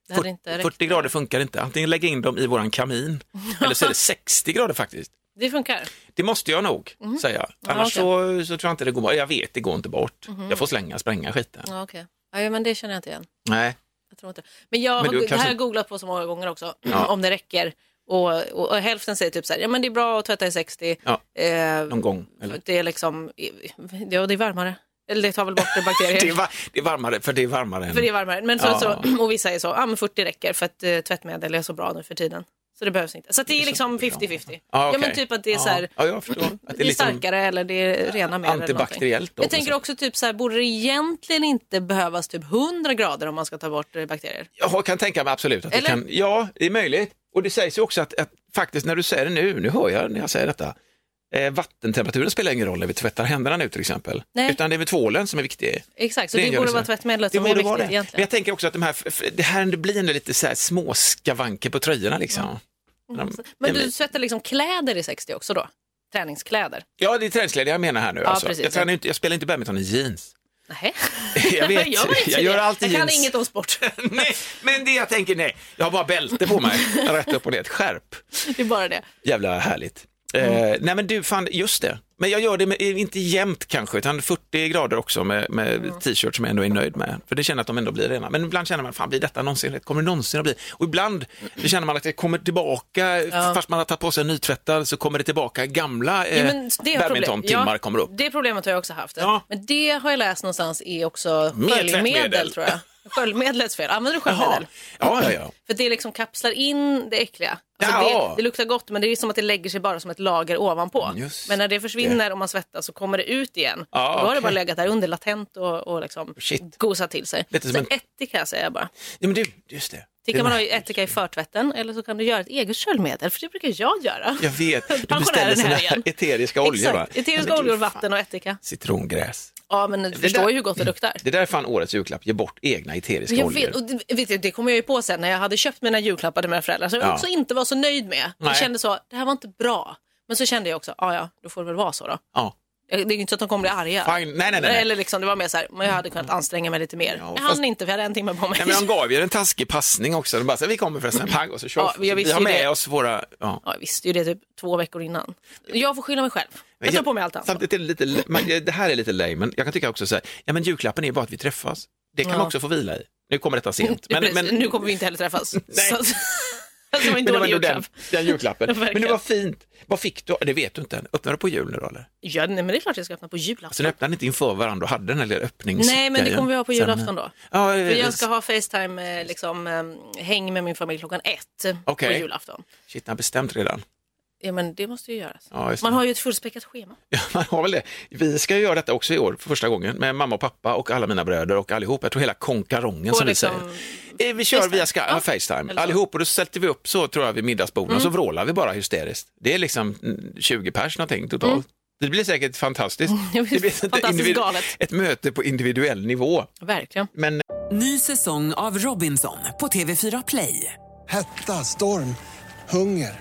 D: Det hade inte räckt.
E: 40 grader funkar inte, antingen lägga in dem i våran kamin eller så är det 60 grader faktiskt.
D: Det funkar.
E: Det måste jag nog säga, annars
D: Mm. Ja, Mm-hmm.
E: så, så tror jag inte det går bort. Jag vet, det går inte bort. Jag får slänga, spränga skiten.
D: Ja, okej. Ja, men det känner jag inte igen.
E: Nej.
D: Jag tror inte. Men jag
E: Men
D: har,
E: du
D: det här
E: kanske-
D: har jag googlat på så många gånger också,
E: Ja.
D: om det räcker. Och, och, och hälften säger typ så här, ja men det är bra att tvätta i 60.
E: Ja.
D: Eh,
E: Någon gång. Eller?
D: Det är liksom, ja det är varmare. Eller det tar väl bort bakterier.
E: Det, är var, det är varmare, för det är varmare än...
D: För det är varmare. Men så,
E: Ja.
D: så, och vissa är så, ja men 40 räcker för att eh, tvättmedel är så bra nu för tiden. Så det behövs inte. Så att det är liksom 50-50.
E: Ja,
D: Ja
E: Ah, okej.
D: men typ att det är så här,
E: Ja, jag förstår. Att liksom
D: det är starkare eller det är rena mer. eller någonting.
E: antibakteriellt då, liksom.
D: Jag tänker
E: på
D: också typ så här, borde det egentligen inte behövas typ 100 grader om man ska ta bort eh, bakterier?
E: Jag kan tänka mig absolut att
D: Eller?
E: det kan, ja, det är möjligt. Och det sägs ju också att, att faktiskt när du säger det nu, nu hör jag när jag säger detta, eh, vattentemperaturen spelar ingen roll när vi tvättar händerna nu till exempel.
D: Nej.
E: Utan det är väl tvålen som är viktig.
D: Exakt, så
E: Det
D: det,
E: gör
D: borde
E: det så.
D: vara tvättmedlet
E: Det
D: som är
E: borde
D: viktigt
E: vara det. Men
D: egentligen.
E: jag tänker också att de här, f- det här blir nu lite så här små skavanker på tröjorna liksom. De-
D: Mm. Men
E: de-
D: du tvättar liksom kläder i 60 också då? Träningskläder?
E: Ja, det är träningskläder jag menar här nu.
D: Ja,
E: alltså.
D: precis.
E: jag, tränar ju inte, jag spelar inte badminton i jeans.
D: Nej.
E: Jag vet,
D: jag, var inte
E: jag
D: det.
E: gör alltid
D: jag kan
E: jeans.
D: inget om sport.
E: nej, men det jag tänker, nej, jag har bara bälte på mig, rätt upp och ner, ett skärp.
D: det är bara
E: Eh,
D: det.
E: Jävla härligt.
D: Mm.
E: Eh, nej men du, fan, just det. Men jag gör det med, eh, inte jämnt kanske, utan 40 grader också med, med
D: Mm.
E: t-shirt som jag ändå är nöjd med. För det känner jag att de ändå blir rena. Men ibland känner man, fan blir detta någonsin rätt? Kommer det någonsin att bli? Och ibland det känner man att det kommer tillbaka, fast man har tagit på sig en nytvättad så kommer det tillbaka gamla
D: Ja,
E: eh,
D: men det är ett problem.
E: badmintontimmar
D: Ja,
E: kommer upp.
D: Det problemet har jag också haft.
E: Ja.
D: Men det har jag läst någonstans är också
E: Mer
D: sköljmedel
E: tvättmedel.
D: tror jag. Sköljmedlets fel. Använder du
E: Jaha.
D: sköljmedel?
E: Ja, ja, ja.
D: För det liksom kapslar in det äckliga. Alltså
E: Ja.
D: det, det luktar gott men det är som att det lägger sig bara som ett lager ovanpå.
E: Just
D: men när det försvinner och man svettas så kommer det ut igen.
E: Ja,
D: Då har det
E: okej.
D: bara legat där under latent och, och liksom
E: Shit.
D: gosat till sig.
E: Lite
D: Så
E: som en-
D: ättika säger jag bara.
E: ja men du, just det.
D: Det
E: Det
D: kan
E: var-
D: man ha i ättika i förtvätten eller så kan du göra ett eget sköljmedel för det brukar jag göra.
E: Jag vet, du beställer
D: Pensionären
E: såna
D: här
E: här
D: igen.
E: eteriska oljor va?
D: Exakt, eteriska
E: Ja, men du,
D: oljor,
E: fan,
D: vatten och ättika.
E: Citrongräs.
D: Ja, men du förstår
E: där- Mm.
D: ju hur gott det luktar.
E: Det där är fan årets julklapp, ge bort egna eteriska
D: Jag
E: oljor.
D: vet, och det, vet du, det kom jag ju på sen när jag hade köpt mina julklappar till mina föräldrar som jag
E: Ja.
D: också inte var så nöjd med. Jag
E: Nej.
D: kände så, det här var inte bra. Men så kände jag också, ja ja, då får det väl vara så då.
E: Ja.
D: Det är ju inte så att de kommer bli arga.
E: Fine. Nej, nej, nej, nej.
D: Eller liksom, det var mer så här, men jag hade kunnat anstränga mig lite mer.
E: Ja,
D: jag
E: fast-
D: hann inte, för jag hade en timme på mig.
E: Nej, men de gav ju en taskig passning också. De bara, så här, vi kommer förresten, pang, och så kör
D: Ja,
E: vi.
D: jag
E: Vi
D: visste
E: har
D: ju
E: med
D: det.
E: oss våra... Ja.
D: Ja, jag visste ju det typ två veckor innan. Jag får skylla mig själv. Jag tar på mig allt annat.
E: Samtidigt är det lite, man, det här är lite lame, men jag kan tycka också så här, ja men julklappen är bara att vi träffas. Det kan
D: Ja.
E: man också få vila i. Nu kommer detta sent. Men,
D: Precis,
E: men,
D: Nu kommer vi inte heller träffas.
E: Nej.
D: Så, Alltså, att- det var en
E: men det var
D: dålig
E: ändå den,
D: julklapp.
E: den julklappen.
D: Verkligen.
E: Men det var fint. Vad fick du? Det vet du inte än. Öppnade du på jul nu då eller?
D: Ja, nej, men det är klart jag ska öppna på julafton.
E: Sen öppnade ni inte inför varandra och hade den här lilla öppnings...
D: Nej, men det kommer vi ha på
E: Sen-
D: julafton då.
E: Ja,
D: För jag ska ha Facetime, eh, liksom, eh, häng med min familj klockan ett
E: Okej.
D: på julafton.
E: Shit, den har bestämt redan.
D: Ja, men det måste ju göras.
E: Ja, just det.
D: Man har ju ett fullspäckat schema.
E: Ja, man har väl det. Vi ska ju göra detta också i år för första gången med mamma och pappa och alla mina bröder och allihop. Jag tror hela konkarongen
D: Och
E: som
D: liksom-
E: vi säger. Eh, Vi kör
D: Facetime.
E: via Skype,
D: Ja,
E: ja, Facetime,
D: eller så. Mm.
E: allihop och då sätter vi upp så tror jag vid middagsborden och så vrålar vi bara hysteriskt. Det är liksom mm, 20 pers någonting totalt.
D: Mm.
E: Det blir säkert fantastiskt.
D: det blir
E: ett
D: Mm, fantastiskt
E: individ-
D: galet.
E: Ett möte på individuell nivå. Eh,
D: Verkligen.
E: Men
A: Ny säsong av Robinson på TV4 Play.
B: Hetta, storm, hunger.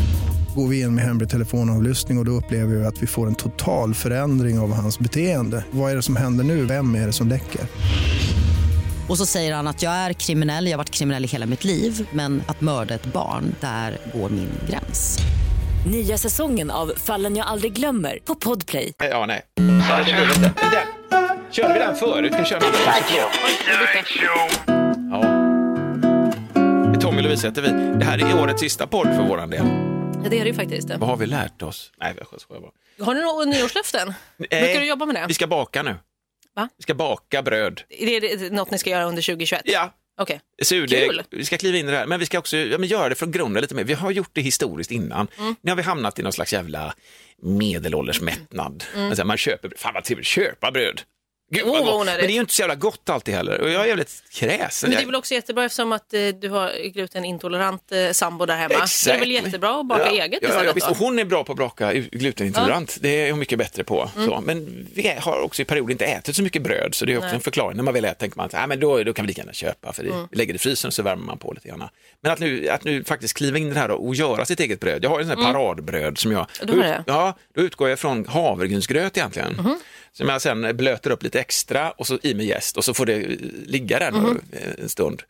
G: Går vi in med hemlig telefonavlyssning och, och då upplever vi att vi får en total förändring av hans beteende. Vad är det som händer nu? Vem är det som läcker?
H: Och så säger han att jag är kriminell, jag har varit kriminell i hela mitt liv men att mörda ett barn, där går min gräns.
F: Nya säsongen av Fallen jag aldrig glömmer på Podplay.
E: eh, ja, nej. Den. Körde vi den förut? Kan köra den ja. Det är Tommy Lovisa heter vi. Det här är årets sista podd för våran del.
D: Ja, det är det ju faktiskt. Det.
E: Vad har vi lärt oss? Nej, jag skojar bara.
D: Har ni några nyårslöften?
E: Nej.
D: Brukar du jobba med det?
E: Vi ska baka nu.
D: Va?
E: Vi ska baka bröd.
D: Är det något ni ska göra under 2021?
E: Ja,
D: Okej.
E: surdeg.
D: Kul.
E: Vi ska kliva in i det här. Men vi ska också ja, men göra det från grunden lite mer. Vi har gjort det historiskt innan.
D: Mm.
E: Nu har vi hamnat i någon slags jävla medelålders mättnad. Alltså, man köper, fan vad trevligt, köpa bröd. Gud,
D: Mm. Oh,
E: vad
D: vad
E: gott. Men
D: onödigt.
E: det är ju inte så jävla gott alltid heller. Och jag är jävligt kräsen.
D: Men det är väl också jättebra eftersom att eh, du har glutenintolerant eh, sambo där hemma. Det är väl jättebra att baka
E: ja.
D: eget
E: ja, ja,
D: istället
E: visst. Och
D: då?
E: Hon är bra på att baka u- glutenintolerant. Det är hon mycket bättre på.
D: Mm.
E: Så. Men vi är- har också i perioder inte ätit så mycket bröd så det är också en förklaring. När man väl äter tänker man att ah, men då, då kan vi lika gärna köpa för det,
D: Mm.
E: vi lägger det i frysen och så värmer man på lite grann. Men att nu, att nu faktiskt kliva in i det här och göra sitt eget bröd. Jag har ju en sån här paradbröd som jag...
D: Du Mm. har Mhm. det?
E: Ja, då utgår jag från havregrynsgröt egentligen. Som jag sen blöter upp lite extra och så i med jäst och så får det eh, ligga där
D: Mhm.
E: nu, eh, en stund.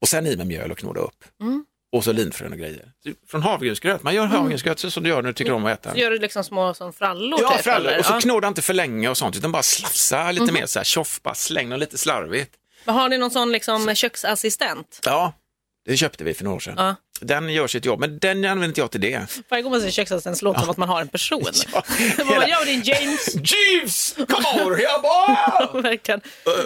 E: Och sen i med mjöl och knåda upp.
D: Mm.
E: Och så linfrön och grejer. Från havregrynsgröt, man gör havregrynsgröt så som du gör när du tycker om att äta.
D: Så Mm. Gör du liksom små som frallor?
E: Ja,
D: typ,
E: för alla.
D: eller?
E: Och så
D: Ja. Mm.
E: knåda inte för länge och sånt, utan bara slafsa lite mer så här, tjoff, bara släng dem lite slarvigt.
D: Men har ni någon sån liksom köksassistent?
E: Ja, det köpte vi för några år sedan.
D: Ja.
E: Den gör sitt jobb, men den använder inte jag till det.
D: Varje gång man säger köksassistent låter det som att man har en person.
E: Ja,
D: Vad
E: hela-
D: man gör din James.
E: Jeeves, come over here boy!
D: Verkligen.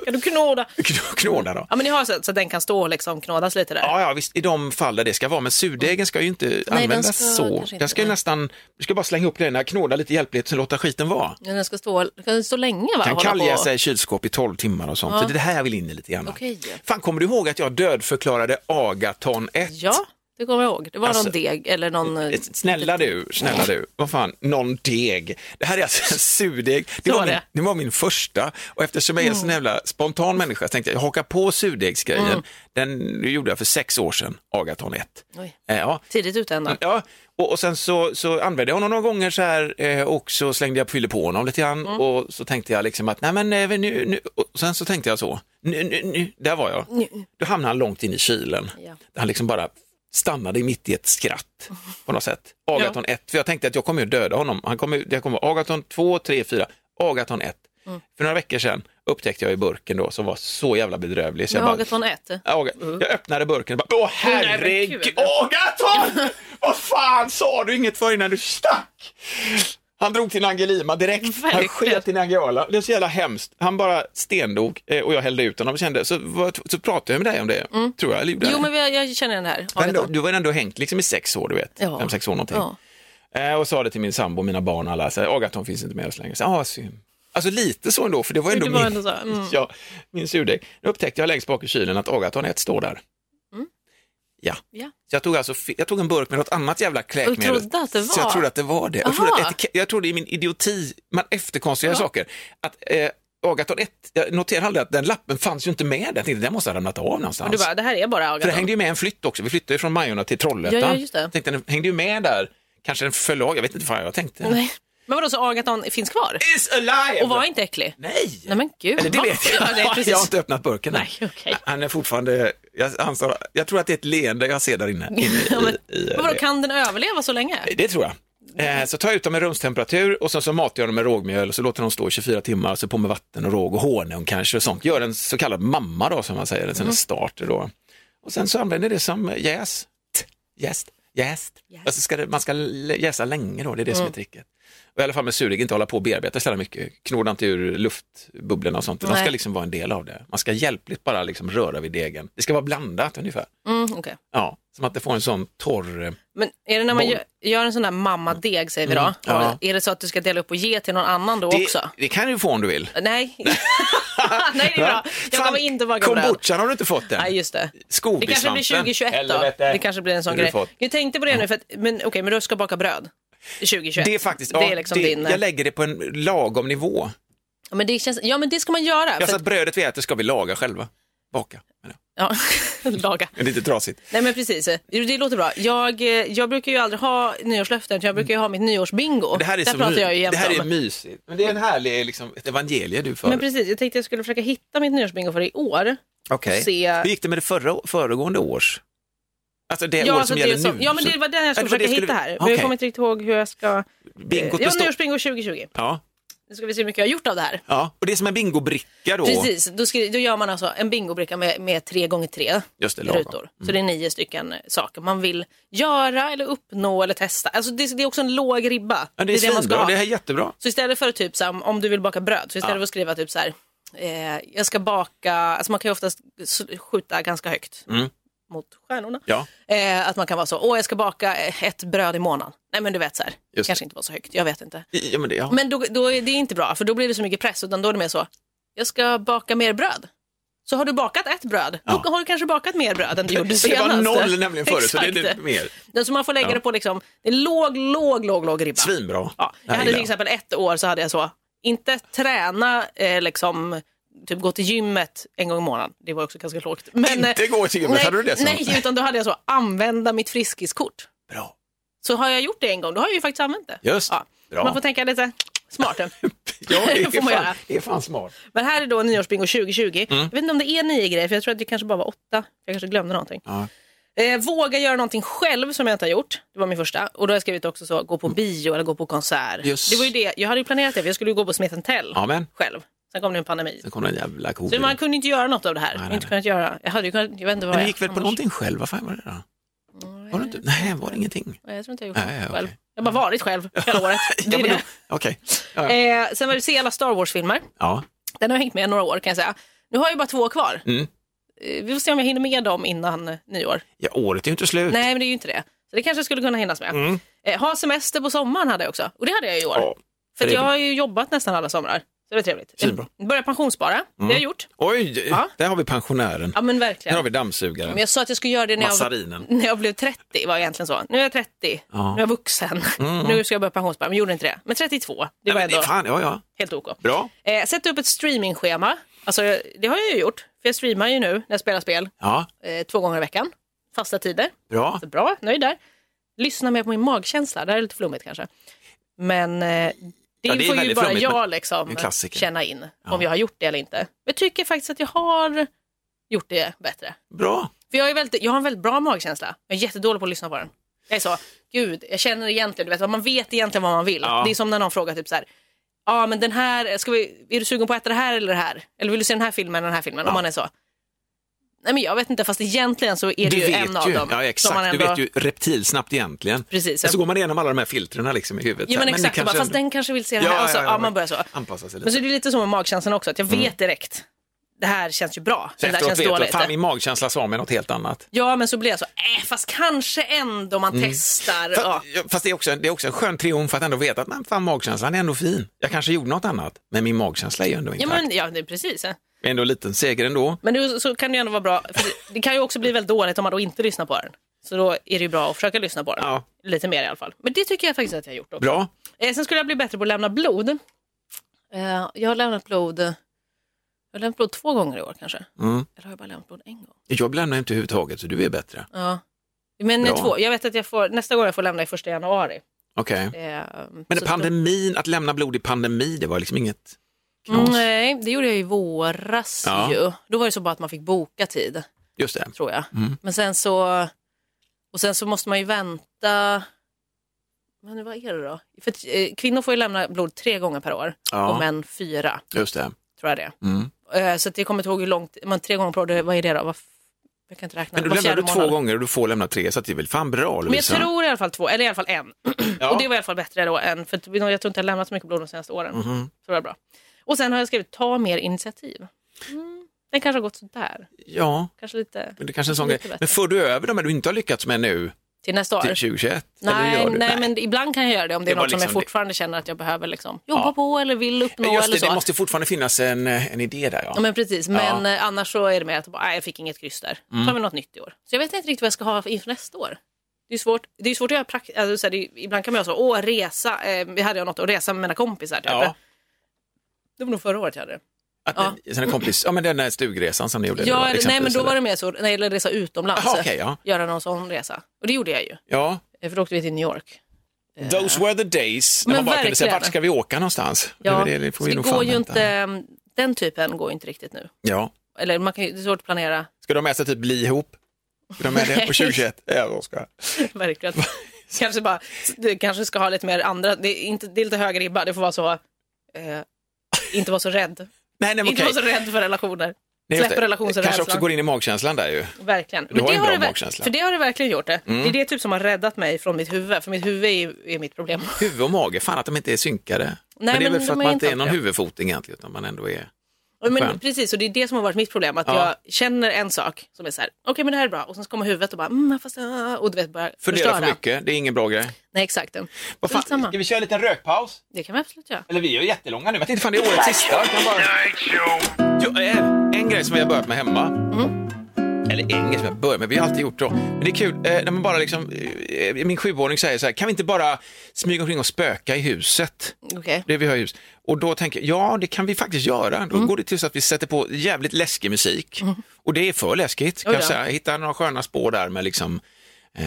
D: Kan du knåda?
E: Kn- Knåda då.
D: Ja, men ni har så, så att den kan stå och liksom knådas lite där.
E: Ja, ja, visst, i de fall där det ska vara, men surdegen ska ju inte användas
D: ska
E: så.
D: kanske inte
E: Den ska ju
D: vara.
E: nästan, du ska bara slänga upp den, här, knåda lite hjälpligt, sen låta skiten vara.
D: Den ska stå, den kan stå länge va?
E: Kan
D: Hålla
E: kallja
D: på.
E: sig i kylskåp i 12 timmar och sånt. Så det är det här jag vill in i lite grann.
D: Okej.
E: Fan, kommer du ihåg att jag dödförklarade Agaton 1?
D: Ja, det kommer jag ihåg. Det var
E: Alltså,
D: någon deg eller någon... eh,
E: Snälla du, snälla du, vad fan, någon deg. Det här är alltså en surdeg. Det
D: Så
E: var,
D: är det. Mm.
E: min, det var min första och eftersom jag är en sån jävla spontan människa så tänkte jag, jag hakar på surdegsgrejen. Den gjorde jag för sex år sedan, Agaton 1.
D: Oj.
E: Eh, Ja,
D: Tidigt ute ändå.
E: Ja, och, och sen så, så använde jag honom några gånger så här eh, och så slängde jag fyllde på honom lite grann
D: Mm.
E: och så tänkte jag liksom att nej men eh, nu, nu, och sen så tänkte jag så, nu, nu, nu, där var jag. Då hamnade han långt in i kylen.
D: Ja.
E: Där han liksom bara stannade mitt i ett skratt på något sätt. Agaton 1, för jag tänkte att jag kommer ju döda honom. Han kommer, ju- det kommer vara Agaton 2, 3, 4, Agaton 1.
D: Mm.
E: För några veckor sedan upptäckte jag i burken då som var så jävla bedrövlig. Så jag
D: Med
E: bara-
D: Agaton 1.
E: Aga- Äh,
D: Mm.
E: Jag öppnade burken och bara, åh
D: Nej, men
E: herregud,
D: gud.
E: Agaton! Vad fan sa du inget för innan du stack? Han drog till Angelima direkt, han
D: Verkligen.
E: sket i Nangijala. Det är så jävla hemskt. Han bara stendog eh, och jag hällde ut honom och kände, så, vad- så pratade jag med dig om det, tror jag. Eller, gjorde
D: Mm. Jo,
E: jag?
D: men vi- jag känner den här.
E: Men då,
D: Agaton.
E: du var ändå hängt liksom i sex år, du vet.
D: Ja.
E: Fem, sex år någonting.
D: Ja.
E: Eh, och sa det till min sambo, mina barn och alla, så här, Agaton finns inte med oss längre. Så, ah, synd. Alltså lite så ändå, för det var ändå
D: Det var
E: min,
D: ändå så, mm.
E: ja, min surdeg. Nu upptäckte jag längst bak i kylen att Agaton 1 står där.
D: Mm.
E: Ja.
D: Ja.
E: Så jag tog, alltså, fi- jag tog en burk med något annat jävla kräkmedel.
D: Och trodde att det var?
E: Så jag trodde att det var det. Jag
D: Aha.
E: trodde, att etikett- jag trodde i min idioti, man efterkonstruerar saker, att eh, Agaton 1, jag noterade aldrig att den lappen fanns ju inte med. Jag tänkte den måste ha ramlat av någonstans.
D: Och du bara, det här är bara
E: Alltså. För det
D: Agaton.
E: hängde ju med en flytt också. Vi flyttade ju från Majorna till Trollhättan.
D: Ja, ja, just det.
E: Tänkte den hängde ju med där. Kanske den föll av, jag vet inte vad jag tänkte.
D: Nej. Men vadå, så Agaton finns kvar?
E: Is alive!
D: Och var inte äcklig?
E: Nej!
D: Nej men gud.
E: Eller det
D: vad-
E: vet jag.
D: Ja, nej, precis.
E: jag har inte öppnat burken än.
D: Nej, okej.
E: Han är fortfarande, jag, han sa, jag tror att det är ett leende jag ser där inne. inne i,
D: Ja, men,
E: i,
D: men vadå, kan den överleva så länge?
E: Det tror jag. Eh, Så tar jag ut dem i rumstemperatur och sen så matar jag dem med rågmjöl och så låter de stå i 24 timmar, så på med vatten och råg och honung kanske och sånt. Gör en så kallad mamma då som man säger, en sån
D: Mm.
E: starter då. Och sen så använder jag det som jäst. Jäst, jäst. Alltså ska det, man ska l- jäsa länge då, det är det
D: Mm.
E: som är tricket. Och I alla fall med surdeg, inte hålla på och bearbeta så jävla mycket, knåda inte ur luftbubblorna och sånt. De ska
D: Nej.
E: liksom vara en del av det. Man ska hjälpligt bara liksom röra vid degen. Det ska vara blandat ungefär.
D: Mm, okej.
E: Ja, som att det får en sån torr eh,
D: Men är det när man
E: Boll.
D: gör, gör en sån där mammadeg säger vi då?
E: Mm, ja.
D: Och Är det så att du ska dela upp och ge till någon annan då
E: det,
D: också?
E: Det kan du få om du vill.
D: Nej. Nej, det är bra. Jag kommer inte vara gammal.
E: Kombuchan har du inte fått än.
D: Nej, just det. Det kanske
E: Skobiesvampen.
D: blir 2021 då.
E: Helvete.
D: Det kanske blir en sån
E: Det har
D: grej.
E: du fått.
D: Jag tänkte på det nu, för att, men okej, men du ska baka bröd. 2021.
E: Det är faktiskt,
D: det
E: ja,
D: är liksom din...
E: jag lägger det på en lagom nivå.
D: Ja, men det känns, ja, men det ska man göra.
E: Jag
D: för
E: sa
D: att-
E: att brödet vi äter ska vi laga själva. Baka. Men ja,
D: Ja, laga.
E: Det är lite trasigt.
D: Nej men precis, Jo, det låter bra. Jag, eh, jag brukar ju aldrig ha nyårslöften, jag brukar ju ha mitt nyårsbingo.
E: Det här är,
D: Där
E: så
D: pratar
E: my-
D: jag ju jämt
E: det här är
D: om.
E: mysigt. Men det är en härlig, liksom, ett evangelie du för.
D: Men precis, jag tänkte jag skulle försöka hitta mitt nyårsbingo för i år.
E: Okej.
D: se-
E: Hur gick det med det förra, föregående års? Alltså det
D: ja,
E: år
D: alltså
E: som
D: det
E: gäller
D: som-
E: nu.
D: ja men
E: så-
D: det var den jag skulle
E: det var det
D: försöka
E: skulle-
D: hitta här. Men
E: Okej.
D: jag kommer inte riktigt ihåg hur jag ska...
E: Bingot
D: ja,
E: består-
D: nyårsbingo 2020.
E: ja,
D: Nu ska vi se hur mycket jag har gjort av det här.
E: ja, och det är som en bingobricka då.
D: Precis, då, skri- då gör man alltså en bingobricka med, med tre gånger tre
E: Just det, lagom. Mm.
D: rutor. Så det är nio stycken eh, saker man vill göra eller uppnå eller testa. Alltså det, det är också en låg ribba.
E: Ja, det är,
D: det man ska
E: svinbra,
D: ha.
E: det här är jättebra.
D: Så istället för typ så här, om du vill baka bröd, så istället för att skriva typ så här, eh, jag ska baka, alltså man kan ju oftast s- skjuta ganska högt
E: Mm.
D: mot stjärnorna.
E: Ja.
D: Eh, att man kan vara så, åh jag ska baka eh, ett bröd i månaden. Nej men du vet så här,
E: Just
D: kanske inte var så högt, jag vet inte.
E: Ja, men det, ja.
D: Men då, då är det inte bra, för då blir det så mycket press, utan då är det mer så, jag ska baka mer bröd. Så har du bakat ett bröd,
E: Ja.
D: då har du kanske bakat mer bröd än du gjorde
E: det
D: senast.
E: var noll nämligen förut, så det är
D: Exakt.
E: lite mer.
D: Ja, Så man får lägga
E: Ja.
D: det på liksom, det är låg, låg, låg, låg ribba.
E: Svinbra.
D: Ja, jag hade
E: här
D: liksom-
E: gillar
D: till exempel ett år så hade jag så, inte träna, eh, liksom, typ gå till gymmet en gång i månaden. Det var också ganska lågt. Men, eh,
E: Inte gå till gymmet,
D: nej,
E: hade du det som?
D: Nej, utan då hade jag så, använda mitt Friskiskort.
E: Bra.
D: Så har jag gjort det en gång, då har jag ju faktiskt använt det.
E: Just,
D: ja.
E: bra.
D: Man får tänka lite smart.
E: Ja, det
D: får
E: är,
D: man
E: fan,
D: göra.
E: det är fan smart.
D: Men här är då nyårsbingo 2020.
E: Mm.
D: Jag vet inte om det är nio grejer, för jag tror att det kanske bara var åtta. Jag kanske glömde någonting.
E: Ja.
D: Eh, våga göra någonting själv som jag inte har gjort. Det var min första. Och då har jag skrivit också så, gå på bio eller gå på konsert.
E: Just.
D: Det var ju det. Jag hade ju planerat det, för jag skulle ju gå på Smith Tell
E: Ja, men.
D: själv. Sen kom det en pandemi.
E: Sen kom den jävla
D: Så
E: covid.
D: man kunde inte göra något av det här.
E: nej,
D: inte
E: nej.
D: kunnat göra. Jag hade ju kunnat, jag vet inte vad
E: Men du
D: jag
E: gick väl på
D: annars-
E: någonting själv? Vad fan var det då? Var det inte? Nej, var det ingenting?
D: Nej, Jag tror inte jag gjort
E: Nej,
D: något
E: okej.
D: själv. Jag har bara varit själv hela året. Det
E: Ja,
D: är
E: men
D: det.
E: då- Okej. Ja, ja.
D: Eh, sen var det se alla Star Wars-filmer.
E: ja.
D: Den har hängt med några år kan jag säga. Nu har jag ju bara två kvar.
E: Mm.
D: Eh, Vi får se om jag hinner med dem innan eh, nyår.
E: ja, året är ju inte slut.
D: Nej, men det är ju inte det. Så det kanske skulle kunna hinnas med.
E: Mm.
D: Eh, ha semester på sommaren hade jag också. Och det hade jag i år.
E: Ja.
D: För att
E: trevligt.
D: jag har ju jobbat nästan alla somrar. Så det var trevligt.
E: Svinbra.
D: Eh, Börja pensionsspara. Det har jag gjort.
E: Oj,
D: Ja.
E: där har vi pensionären.
D: Ja, men
E: Där Mm. har
D: verkligen.
E: vi dammsugaren.
D: Men jag sa att jag skulle göra det när jag,
E: Massarinen.
D: när jag blev 30. var egentligen så. Nu är jag 30.
E: Ja.
D: Nu är jag vuxen. Nu ska jag börja pensionsspara. Men gjorde inte det. Men 32. Det
E: Nej,
D: var
E: men det
D: ändå
E: är fan, ja, ja.
D: helt OK.
E: Bra.
D: Eh, sätta upp ett streamingschema. Alltså, jag- det har jag ju gjort. För jag streamar ju nu när jag spelar spel
E: Ja,
D: eh, två gånger i veckan. Fasta tider.
E: bra.
D: Så bra, nöjd där. Lyssna mer på min magkänsla. Det här är lite flummigt kanske. Men eh, det,
E: det är
D: får ju
E: väldigt
D: bara
E: flummigt,
D: jag
E: men
D: liksom
E: en klassiker.
D: känna in
E: Ja.
D: om jag har gjort det eller inte. Men jag tycker faktiskt att jag har gjort det bättre.
E: Bra.
D: För jag, är väldigt, jag har en väldigt bra magkänsla. Jag är jättedålig på att lyssna på den. Jag är så, gud, jag känner egentligen, du vet, vad man vet egentligen vad man vill.
E: Ja.
D: Det är som när någon frågar typ så här, ja men den här, ska vi, är du sugen på att äta det här eller det här? Eller vill du se den här filmen eller den här filmen? Om man är så, nej men jag vet inte, fast egentligen så är det
E: Du
D: ju en
E: vet
D: av
E: ju.
D: dem.
E: Ja,
D: som man
E: exakt. Du
D: ändå-
E: vet ju reptilsnabbt egentligen.
D: Precis,
E: Sen
D: ja.
E: så går man igenom alla de här filtren liksom i huvudet.
D: Ja
E: Så här,
D: men
E: det
D: exakt, och bara,
E: kanske
D: fast
E: ändå-
D: den kanske vill se det här. och så, ja, man börjar så.
E: Anpassa sig lite.
D: Men så är det lite så med magkänslan också, att jag vet direkt. Det här känns ju bra. Det
E: Så
D: där
E: Mm. efteråt
D: känns
E: vet du
D: dåligt.
E: att fan, min magkänsla sa mig något helt annat.
D: Ja, men så blir jag så, äh, fast kanske ändå man
E: Mm.
D: testar.
E: Fast,
D: Ja.
E: ja, fast det, är också, en- det är också en skön triumf att ändå veta att men fan, magkänslan är ändå fin. Jag kanske gjorde något annat, men min magkänsla är ju ändå
D: Ja,
E: intakt.
D: men, ja, det är precis. ja.
E: Det är Ändå en liten seger ändå.
D: Men det, så kan det ju ändå vara bra. För det, det kan ju också bli väldigt dåligt om man då inte lyssnar på den. Så då är det ju bra att försöka lyssna på den.
E: Ja.
D: Lite mer i alla fall. Men det tycker jag faktiskt att jag har gjort också.
E: Bra.
D: Eh, sen skulle jag bli bättre på att lämna blod. Eh, jag har lämnat blod Jag har lämnat blod två gånger i år kanske.
E: Mm.
D: Eller har jag bara lämnat blod en gång?
E: Jag lämnar inte överhuvudtaget, så du är bättre.
D: Ja. Men
E: Bra.
D: två. Jag vet att jag får, nästa gång jag får lämna är första januari.
E: Okej.
D: Eh,
E: Men
D: så-
E: pandemin, att lämna blod i pandemi, det var liksom inget knas.
D: Mm, Nej, det gjorde jag i våras
E: Ja.
D: ju. Då var det så bara att man fick boka tid,
E: Just det.
D: tror jag.
E: Mm.
D: Men sen så, och sen så måste man ju vänta. Men vad är det då? För att, eh, kvinnor får ju lämna blod tre gånger per år och
E: Ja,
D: män fyra,
E: just det.
D: tror jag det
E: Mm.
D: är. Eh, Så att jag kommer inte ihåg hur långt, men tre gånger per år, det- vad är det då? Vad f- Jag kan inte räkna.
E: Men du
D: Var
E: lämnar du
D: fjärde
E: två
D: månad.
E: gånger och du får lämna tre, så att det är väl fan bra
D: Men jag
E: Lovisa?
D: tror i alla fall två, eller i alla fall en.
E: Ja.
D: Och det var i alla fall bättre då än, för att jag tror inte jag har lämnat så mycket blod de senaste åren.
E: Mhm.
D: Så det var bra. Och sen har jag skrivit ta mer initiativ. Mm. Den kanske har gått sådär.
E: Ja,
D: Kanske lite
E: men det är kanske är en sån
D: Lite
E: grej.
D: bättre.
E: Men får du över de här du inte har lyckats med nu
D: till nästa år.
E: till 2021? Eller
D: Nej,
E: gör
D: nej,
E: du?
D: men ibland kan jag göra det om det,
E: Det
D: är
E: var
D: något som jag
E: liksom det-
D: fortfarande känner att jag behöver liksom, jobba
E: Ja.
D: på eller vill
E: Men
D: uppnå
E: just
D: eller
E: det,
D: så.
E: det måste fortfarande finnas en, eh, en idé där.
D: Ja,
E: Ja.
D: men precis, men eh, annars så är det mer att bara, nej, jag fick inget kryss där. Mm. tar vi något nytt i år. Så jag vet inte riktigt vad jag ska ha inför nästa år. Det är svårt, det är svårt att göra praktiskt. Alltså, så här, det är- ibland kan man göra så, åh resa, eh, vi hade jag något att resa med mina kompisar. Typ.
E: Ja,
D: Det var nog förra året jag hade det.
E: att, ja. Sen en kompis, ja men den där stugresan som ni gjorde.
D: Ja,
E: då,
D: eller, nej men
E: exempelvis,
D: då var
E: eller?
D: det mer så, när det gäller resa utomlands,
E: Jaha, okej, ja.
D: göra någon sån resa. Och det gjorde jag ju,
E: Ja,
D: eh, för då åkte vi till New York.
E: those were the days när
D: Men
E: man bara kunde säga,
D: verkligen.
E: vart ska vi åka någonstans?
D: Ja,
E: det, är det får
D: så
E: vi
D: det
E: nog
D: går
E: fan
D: ju
E: vänta.
D: inte, eh, den typen går ju inte riktigt nu.
E: Ja.
D: Eller man kan, ju- det är svårt att planera,
E: Ska de äta typ bli ihop? Ska de med det på 2021? Ja, då ska jag.
D: verkligen. kanske bara, du kanske ska ha lite mer andra, det är, inte, det är lite hög ribba, det får vara så, eh, inte vara så rädd.
E: Nej, nej, men
D: Inte
E: okej.
D: vara så rädd för relationer.
E: Nej, just
D: Släpp
E: det.
D: relationsrädslan.
E: Kanske också går in i magkänslan där ju.
D: Verkligen.
E: har en bra
D: det, ver-
E: magkänsla. Mm.
D: För det har det verkligen gjort det. Det är det typ som har räddat mig från mitt huvud, för mitt huvud är, ju- är mitt problem.
E: Huvud och mage, fan att de inte är synkade. men det är
D: men
E: väl för
D: de
E: att
D: är
E: man
D: inte
E: inte är någon
D: alltid.
E: huvudfoting egentligen, utan man ändå är...
D: Ja, Men
E: Skönt.
D: precis, och det är det som har varit mitt problem. Att
E: Ja.
D: jag känner en sak som är så här, okej men det här är bra. Och sen så kommer huvudet och bara, mm, fast, äh, och du vet, bara
E: Fundera
D: förstöra.
E: för mycket, det är ingen bra grej.
D: Nej, exakt.
E: Vad fan,
D: Skitsamma.
E: ska vi köra en liten rökpaus?
D: Det kan vi absolut göra.
E: Eller vi är ju jättelånga nu, jag tänkte fan det är årets sista. Jag kan bara... Jo, eh, en grej som vi har börjat med hemma.
D: Mm.
E: Eller en grej som jag börjat med, vi har alltid gjort så. Men det är kul, eh, när man bara liksom, eh, min sjuåring säger så här, kan vi inte bara smyga omkring och spöka i huset?
D: Okej.
E: det vi har i hus. Och då tänker jag, ja det kan vi faktiskt göra. Då går det till så att vi sätter på jävligt läskig musik. Och det är för läskigt, kan
D: Oj
E: jag
D: då.
E: säga. Hitta några sköna spår där med liksom eh,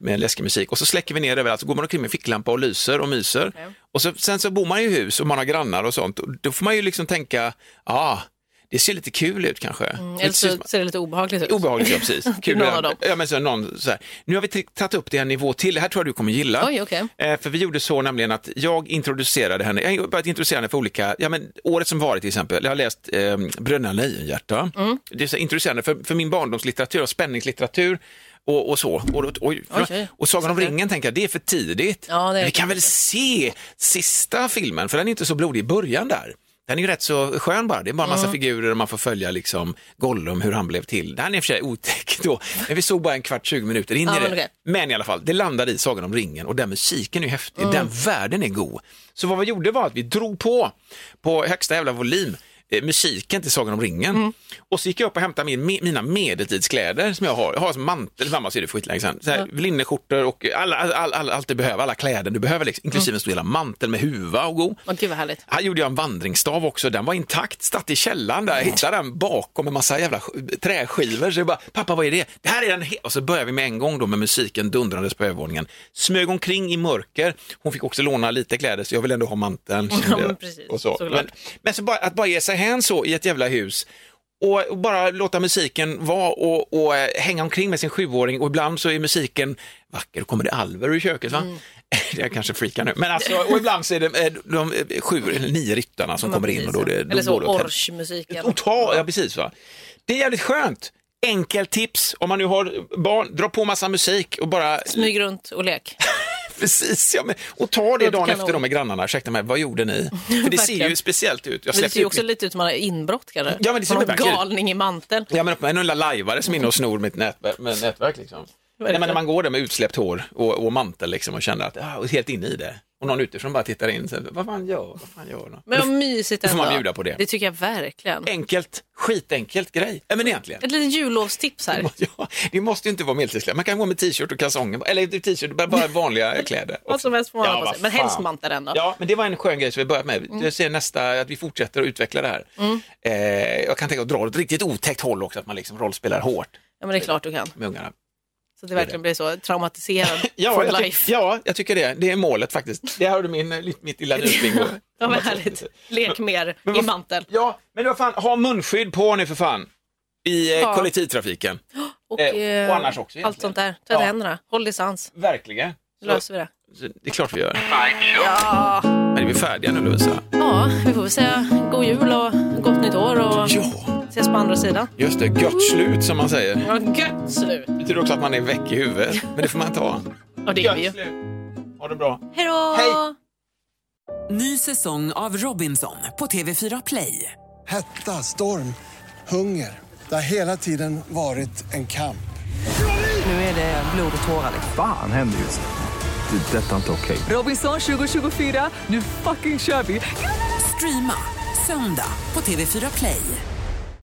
E: med läskig musik och så släcker vi ner överallt så går man omkring med ficklampa och lyser och myser. Och så, sen så bor man i hus och man har grannar och sånt. Och då får man ju liksom tänka, ja, ah, det ser lite kul ut kanske. Det
D: Eller
E: ser
D: så
E: ut som-
D: ser det lite obehagligt ut.
E: Obehagligt, ja precis. Kul
D: någon
E: att-
D: av dem.
E: Ja, men så, någon, så här. Nu har vi t- tagit upp det en nivå till, det här tror jag du kommer gilla.
D: Oj, okej.
E: eh, för vi gjorde så nämligen att jag introducerade henne, jag har börjat introducera henne för olika, ja men året som varit till exempel, jag har läst eh, Bröderna Lejonhjärta.
D: Mm.
E: Det är så här introducerande för, för min barndomslitteratur och spänningslitteratur. Och, och så. Och, och, oj, förlåt.
D: Oj, oj.
E: och Sagan om ringen tänker jag, det är för tidigt.
D: Ja, det är
E: Men vi
D: det.
E: kan väl se sista filmen, för den är inte så blodig i början där. Den är ju rätt så skön bara, det är bara en massa
D: Mm.
E: figurer och man får följa liksom Gollum, hur han blev till. Den är i och för sig otäck då, men vi såg bara en kvart, 20 minuter in
D: Ja,
E: i det.
D: men okej.
E: Men i alla fall, det landade i Sagan om ringen och den musiken är ju häftig,
D: Mm.
E: den världen är god. Så vad vi gjorde var att vi drog på, på högsta jävla volym, eh, musiken till Sagan om ringen.
D: Mm.
E: Och så gick jag upp och hämtade min, mi- mina medeltidskläder som jag har. Jag har som mantel, mamma ser det skitlänge sedan. Så här, Linneskjortor och alla, all, all, all, allt du behöver, alla kläder du behöver, liksom, inklusive en stor jävla mantel med huva och go.
D: Åh, gud vad härligt.
E: Här gjorde jag en vandringsstav också, den var intakt, satt i källaren där, jag hittade den bakom en massa jävla sk- träskivor. Så jag bara, pappa vad är det? Det här är den he-" Och så började vi med en gång då med musiken dundrandes på övervåningen. Smög omkring i mörker, hon fick också låna lite kläder så jag vill ändå ha manteln.
D: Ja, men precis,
E: och så.
D: såklart.
E: Men, men så bara, att bara ge sig hän så i ett jävla hus och och bara låta musiken vara och, och eh, hänga omkring med sin sjuåring och ibland så är musiken vacker, då kommer det alver ur köket va?
D: Mm.
E: Jag kanske freakar nu, men alltså, och ibland så är det eh, de eh, sju eller nio ryttarna som
D: Men
E: kommer in och då,
D: precis,
E: det,
D: ja.
E: då
D: Eller så
E: går det åt helvete.
D: orchmusiken.
E: Total, ja precis va. Det är jävligt skönt. Enkel tips om man nu har barn, dra på massa musik och bara...
D: Smyg runt och lek.
E: Precis, ja, men, och ta det
D: Låter
E: dagen
D: kanon.
E: efter dem med grannarna. Ursäkta mig, vad gjorde ni? För det ser ju
D: Verkligen.
E: speciellt ut. Jag
D: Men det
E: släppte
D: ser ju
E: ut
D: också
E: mitt-
D: lite ut som man har inbrott kanske.
E: Ja, men det ser
D: Som
E: väl
D: någon
E: verkligen ut.
D: galning i mantel.
E: Ja, men en lilla lajvare som är inne och snor mitt nätverk, med nätverk liksom. Nej, men när man går där med utsläppt hår och, och mantel liksom och känner att, ah, och är helt inne i det. Och någon utifrån bara tittar in, så, vad fan gör, vad fan gör någon?
D: Men vad mysigt
E: Då får
D: ändå.
E: man bjuda på det.
D: Det tycker jag verkligen.
E: Enkelt, skitenkelt grej. Ja, men egentligen.
D: Ett litet jullovstips här.
E: Ja, det måste ju inte vara medeltidskläder. Man kan gå med t-shirt och kalsonger, eller inte t-shirt, bara- bara vanliga kläder.
D: Vad som helst får man
E: Ja,
D: ha på
E: vad
D: sig. Men
E: fan.
D: helst mantel ändå.
E: Ja, men det var en skön grej som vi börjat med.
D: Mm.
E: Jag ser nästa, att vi fortsätter att utveckla det här. Eh, jag kan tänka att dra åt ett riktigt otäckt håll också, att man liksom rollspelar hårt
D: Ja, men det är klart du kan.
E: med ungarna.
D: Så att det verkligen blir så traumatiserad
E: Ja,
D: for
E: jag,
D: life.
E: ty- ja jag tycker det. Det är målet faktiskt. Det har du min, eh, mitt lilla njutning.
D: Ja, vad härligt. Lek mer
E: Men
D: i
E: vad-
D: mantel.
E: Ja, men vad fan, ha munskydd på nu för fan. I eh,
D: Ja.
E: kollektivtrafiken.
D: Och,
E: Eh, och
D: eh,
E: annars också egentligen.
D: Allt sånt där. Tvätta
E: Ja.
D: händerna. Håll distans.
E: Verkligen.
D: Så löser vi det.
E: Så det är klart vi gör.
D: Ja.
E: Men det är vi färdiga nu Lovisa.
D: ja, vi får väl säga god jul och gott nytt år och
E: Ja,
D: ses på andra sidan.
E: just det. Gött slut som man säger.
D: Ja, gött slut.
E: Det betyder också att man är väck i huvudet, men det får man inte ha.
D: Ja, det är vi ju.
E: slut. Ha det bra.
D: Hej då!
E: Hej.
A: Ny säsong av Robinson på TV4 Play.
B: Hetta, storm, hunger. Det har hela tiden varit en kamp.
A: Nu är det blod och tårar.
C: Fan händer just det. Det är detta inte okej.
A: Robinson 2024, nu fucking kör vi! Streama söndag på TV4 Play.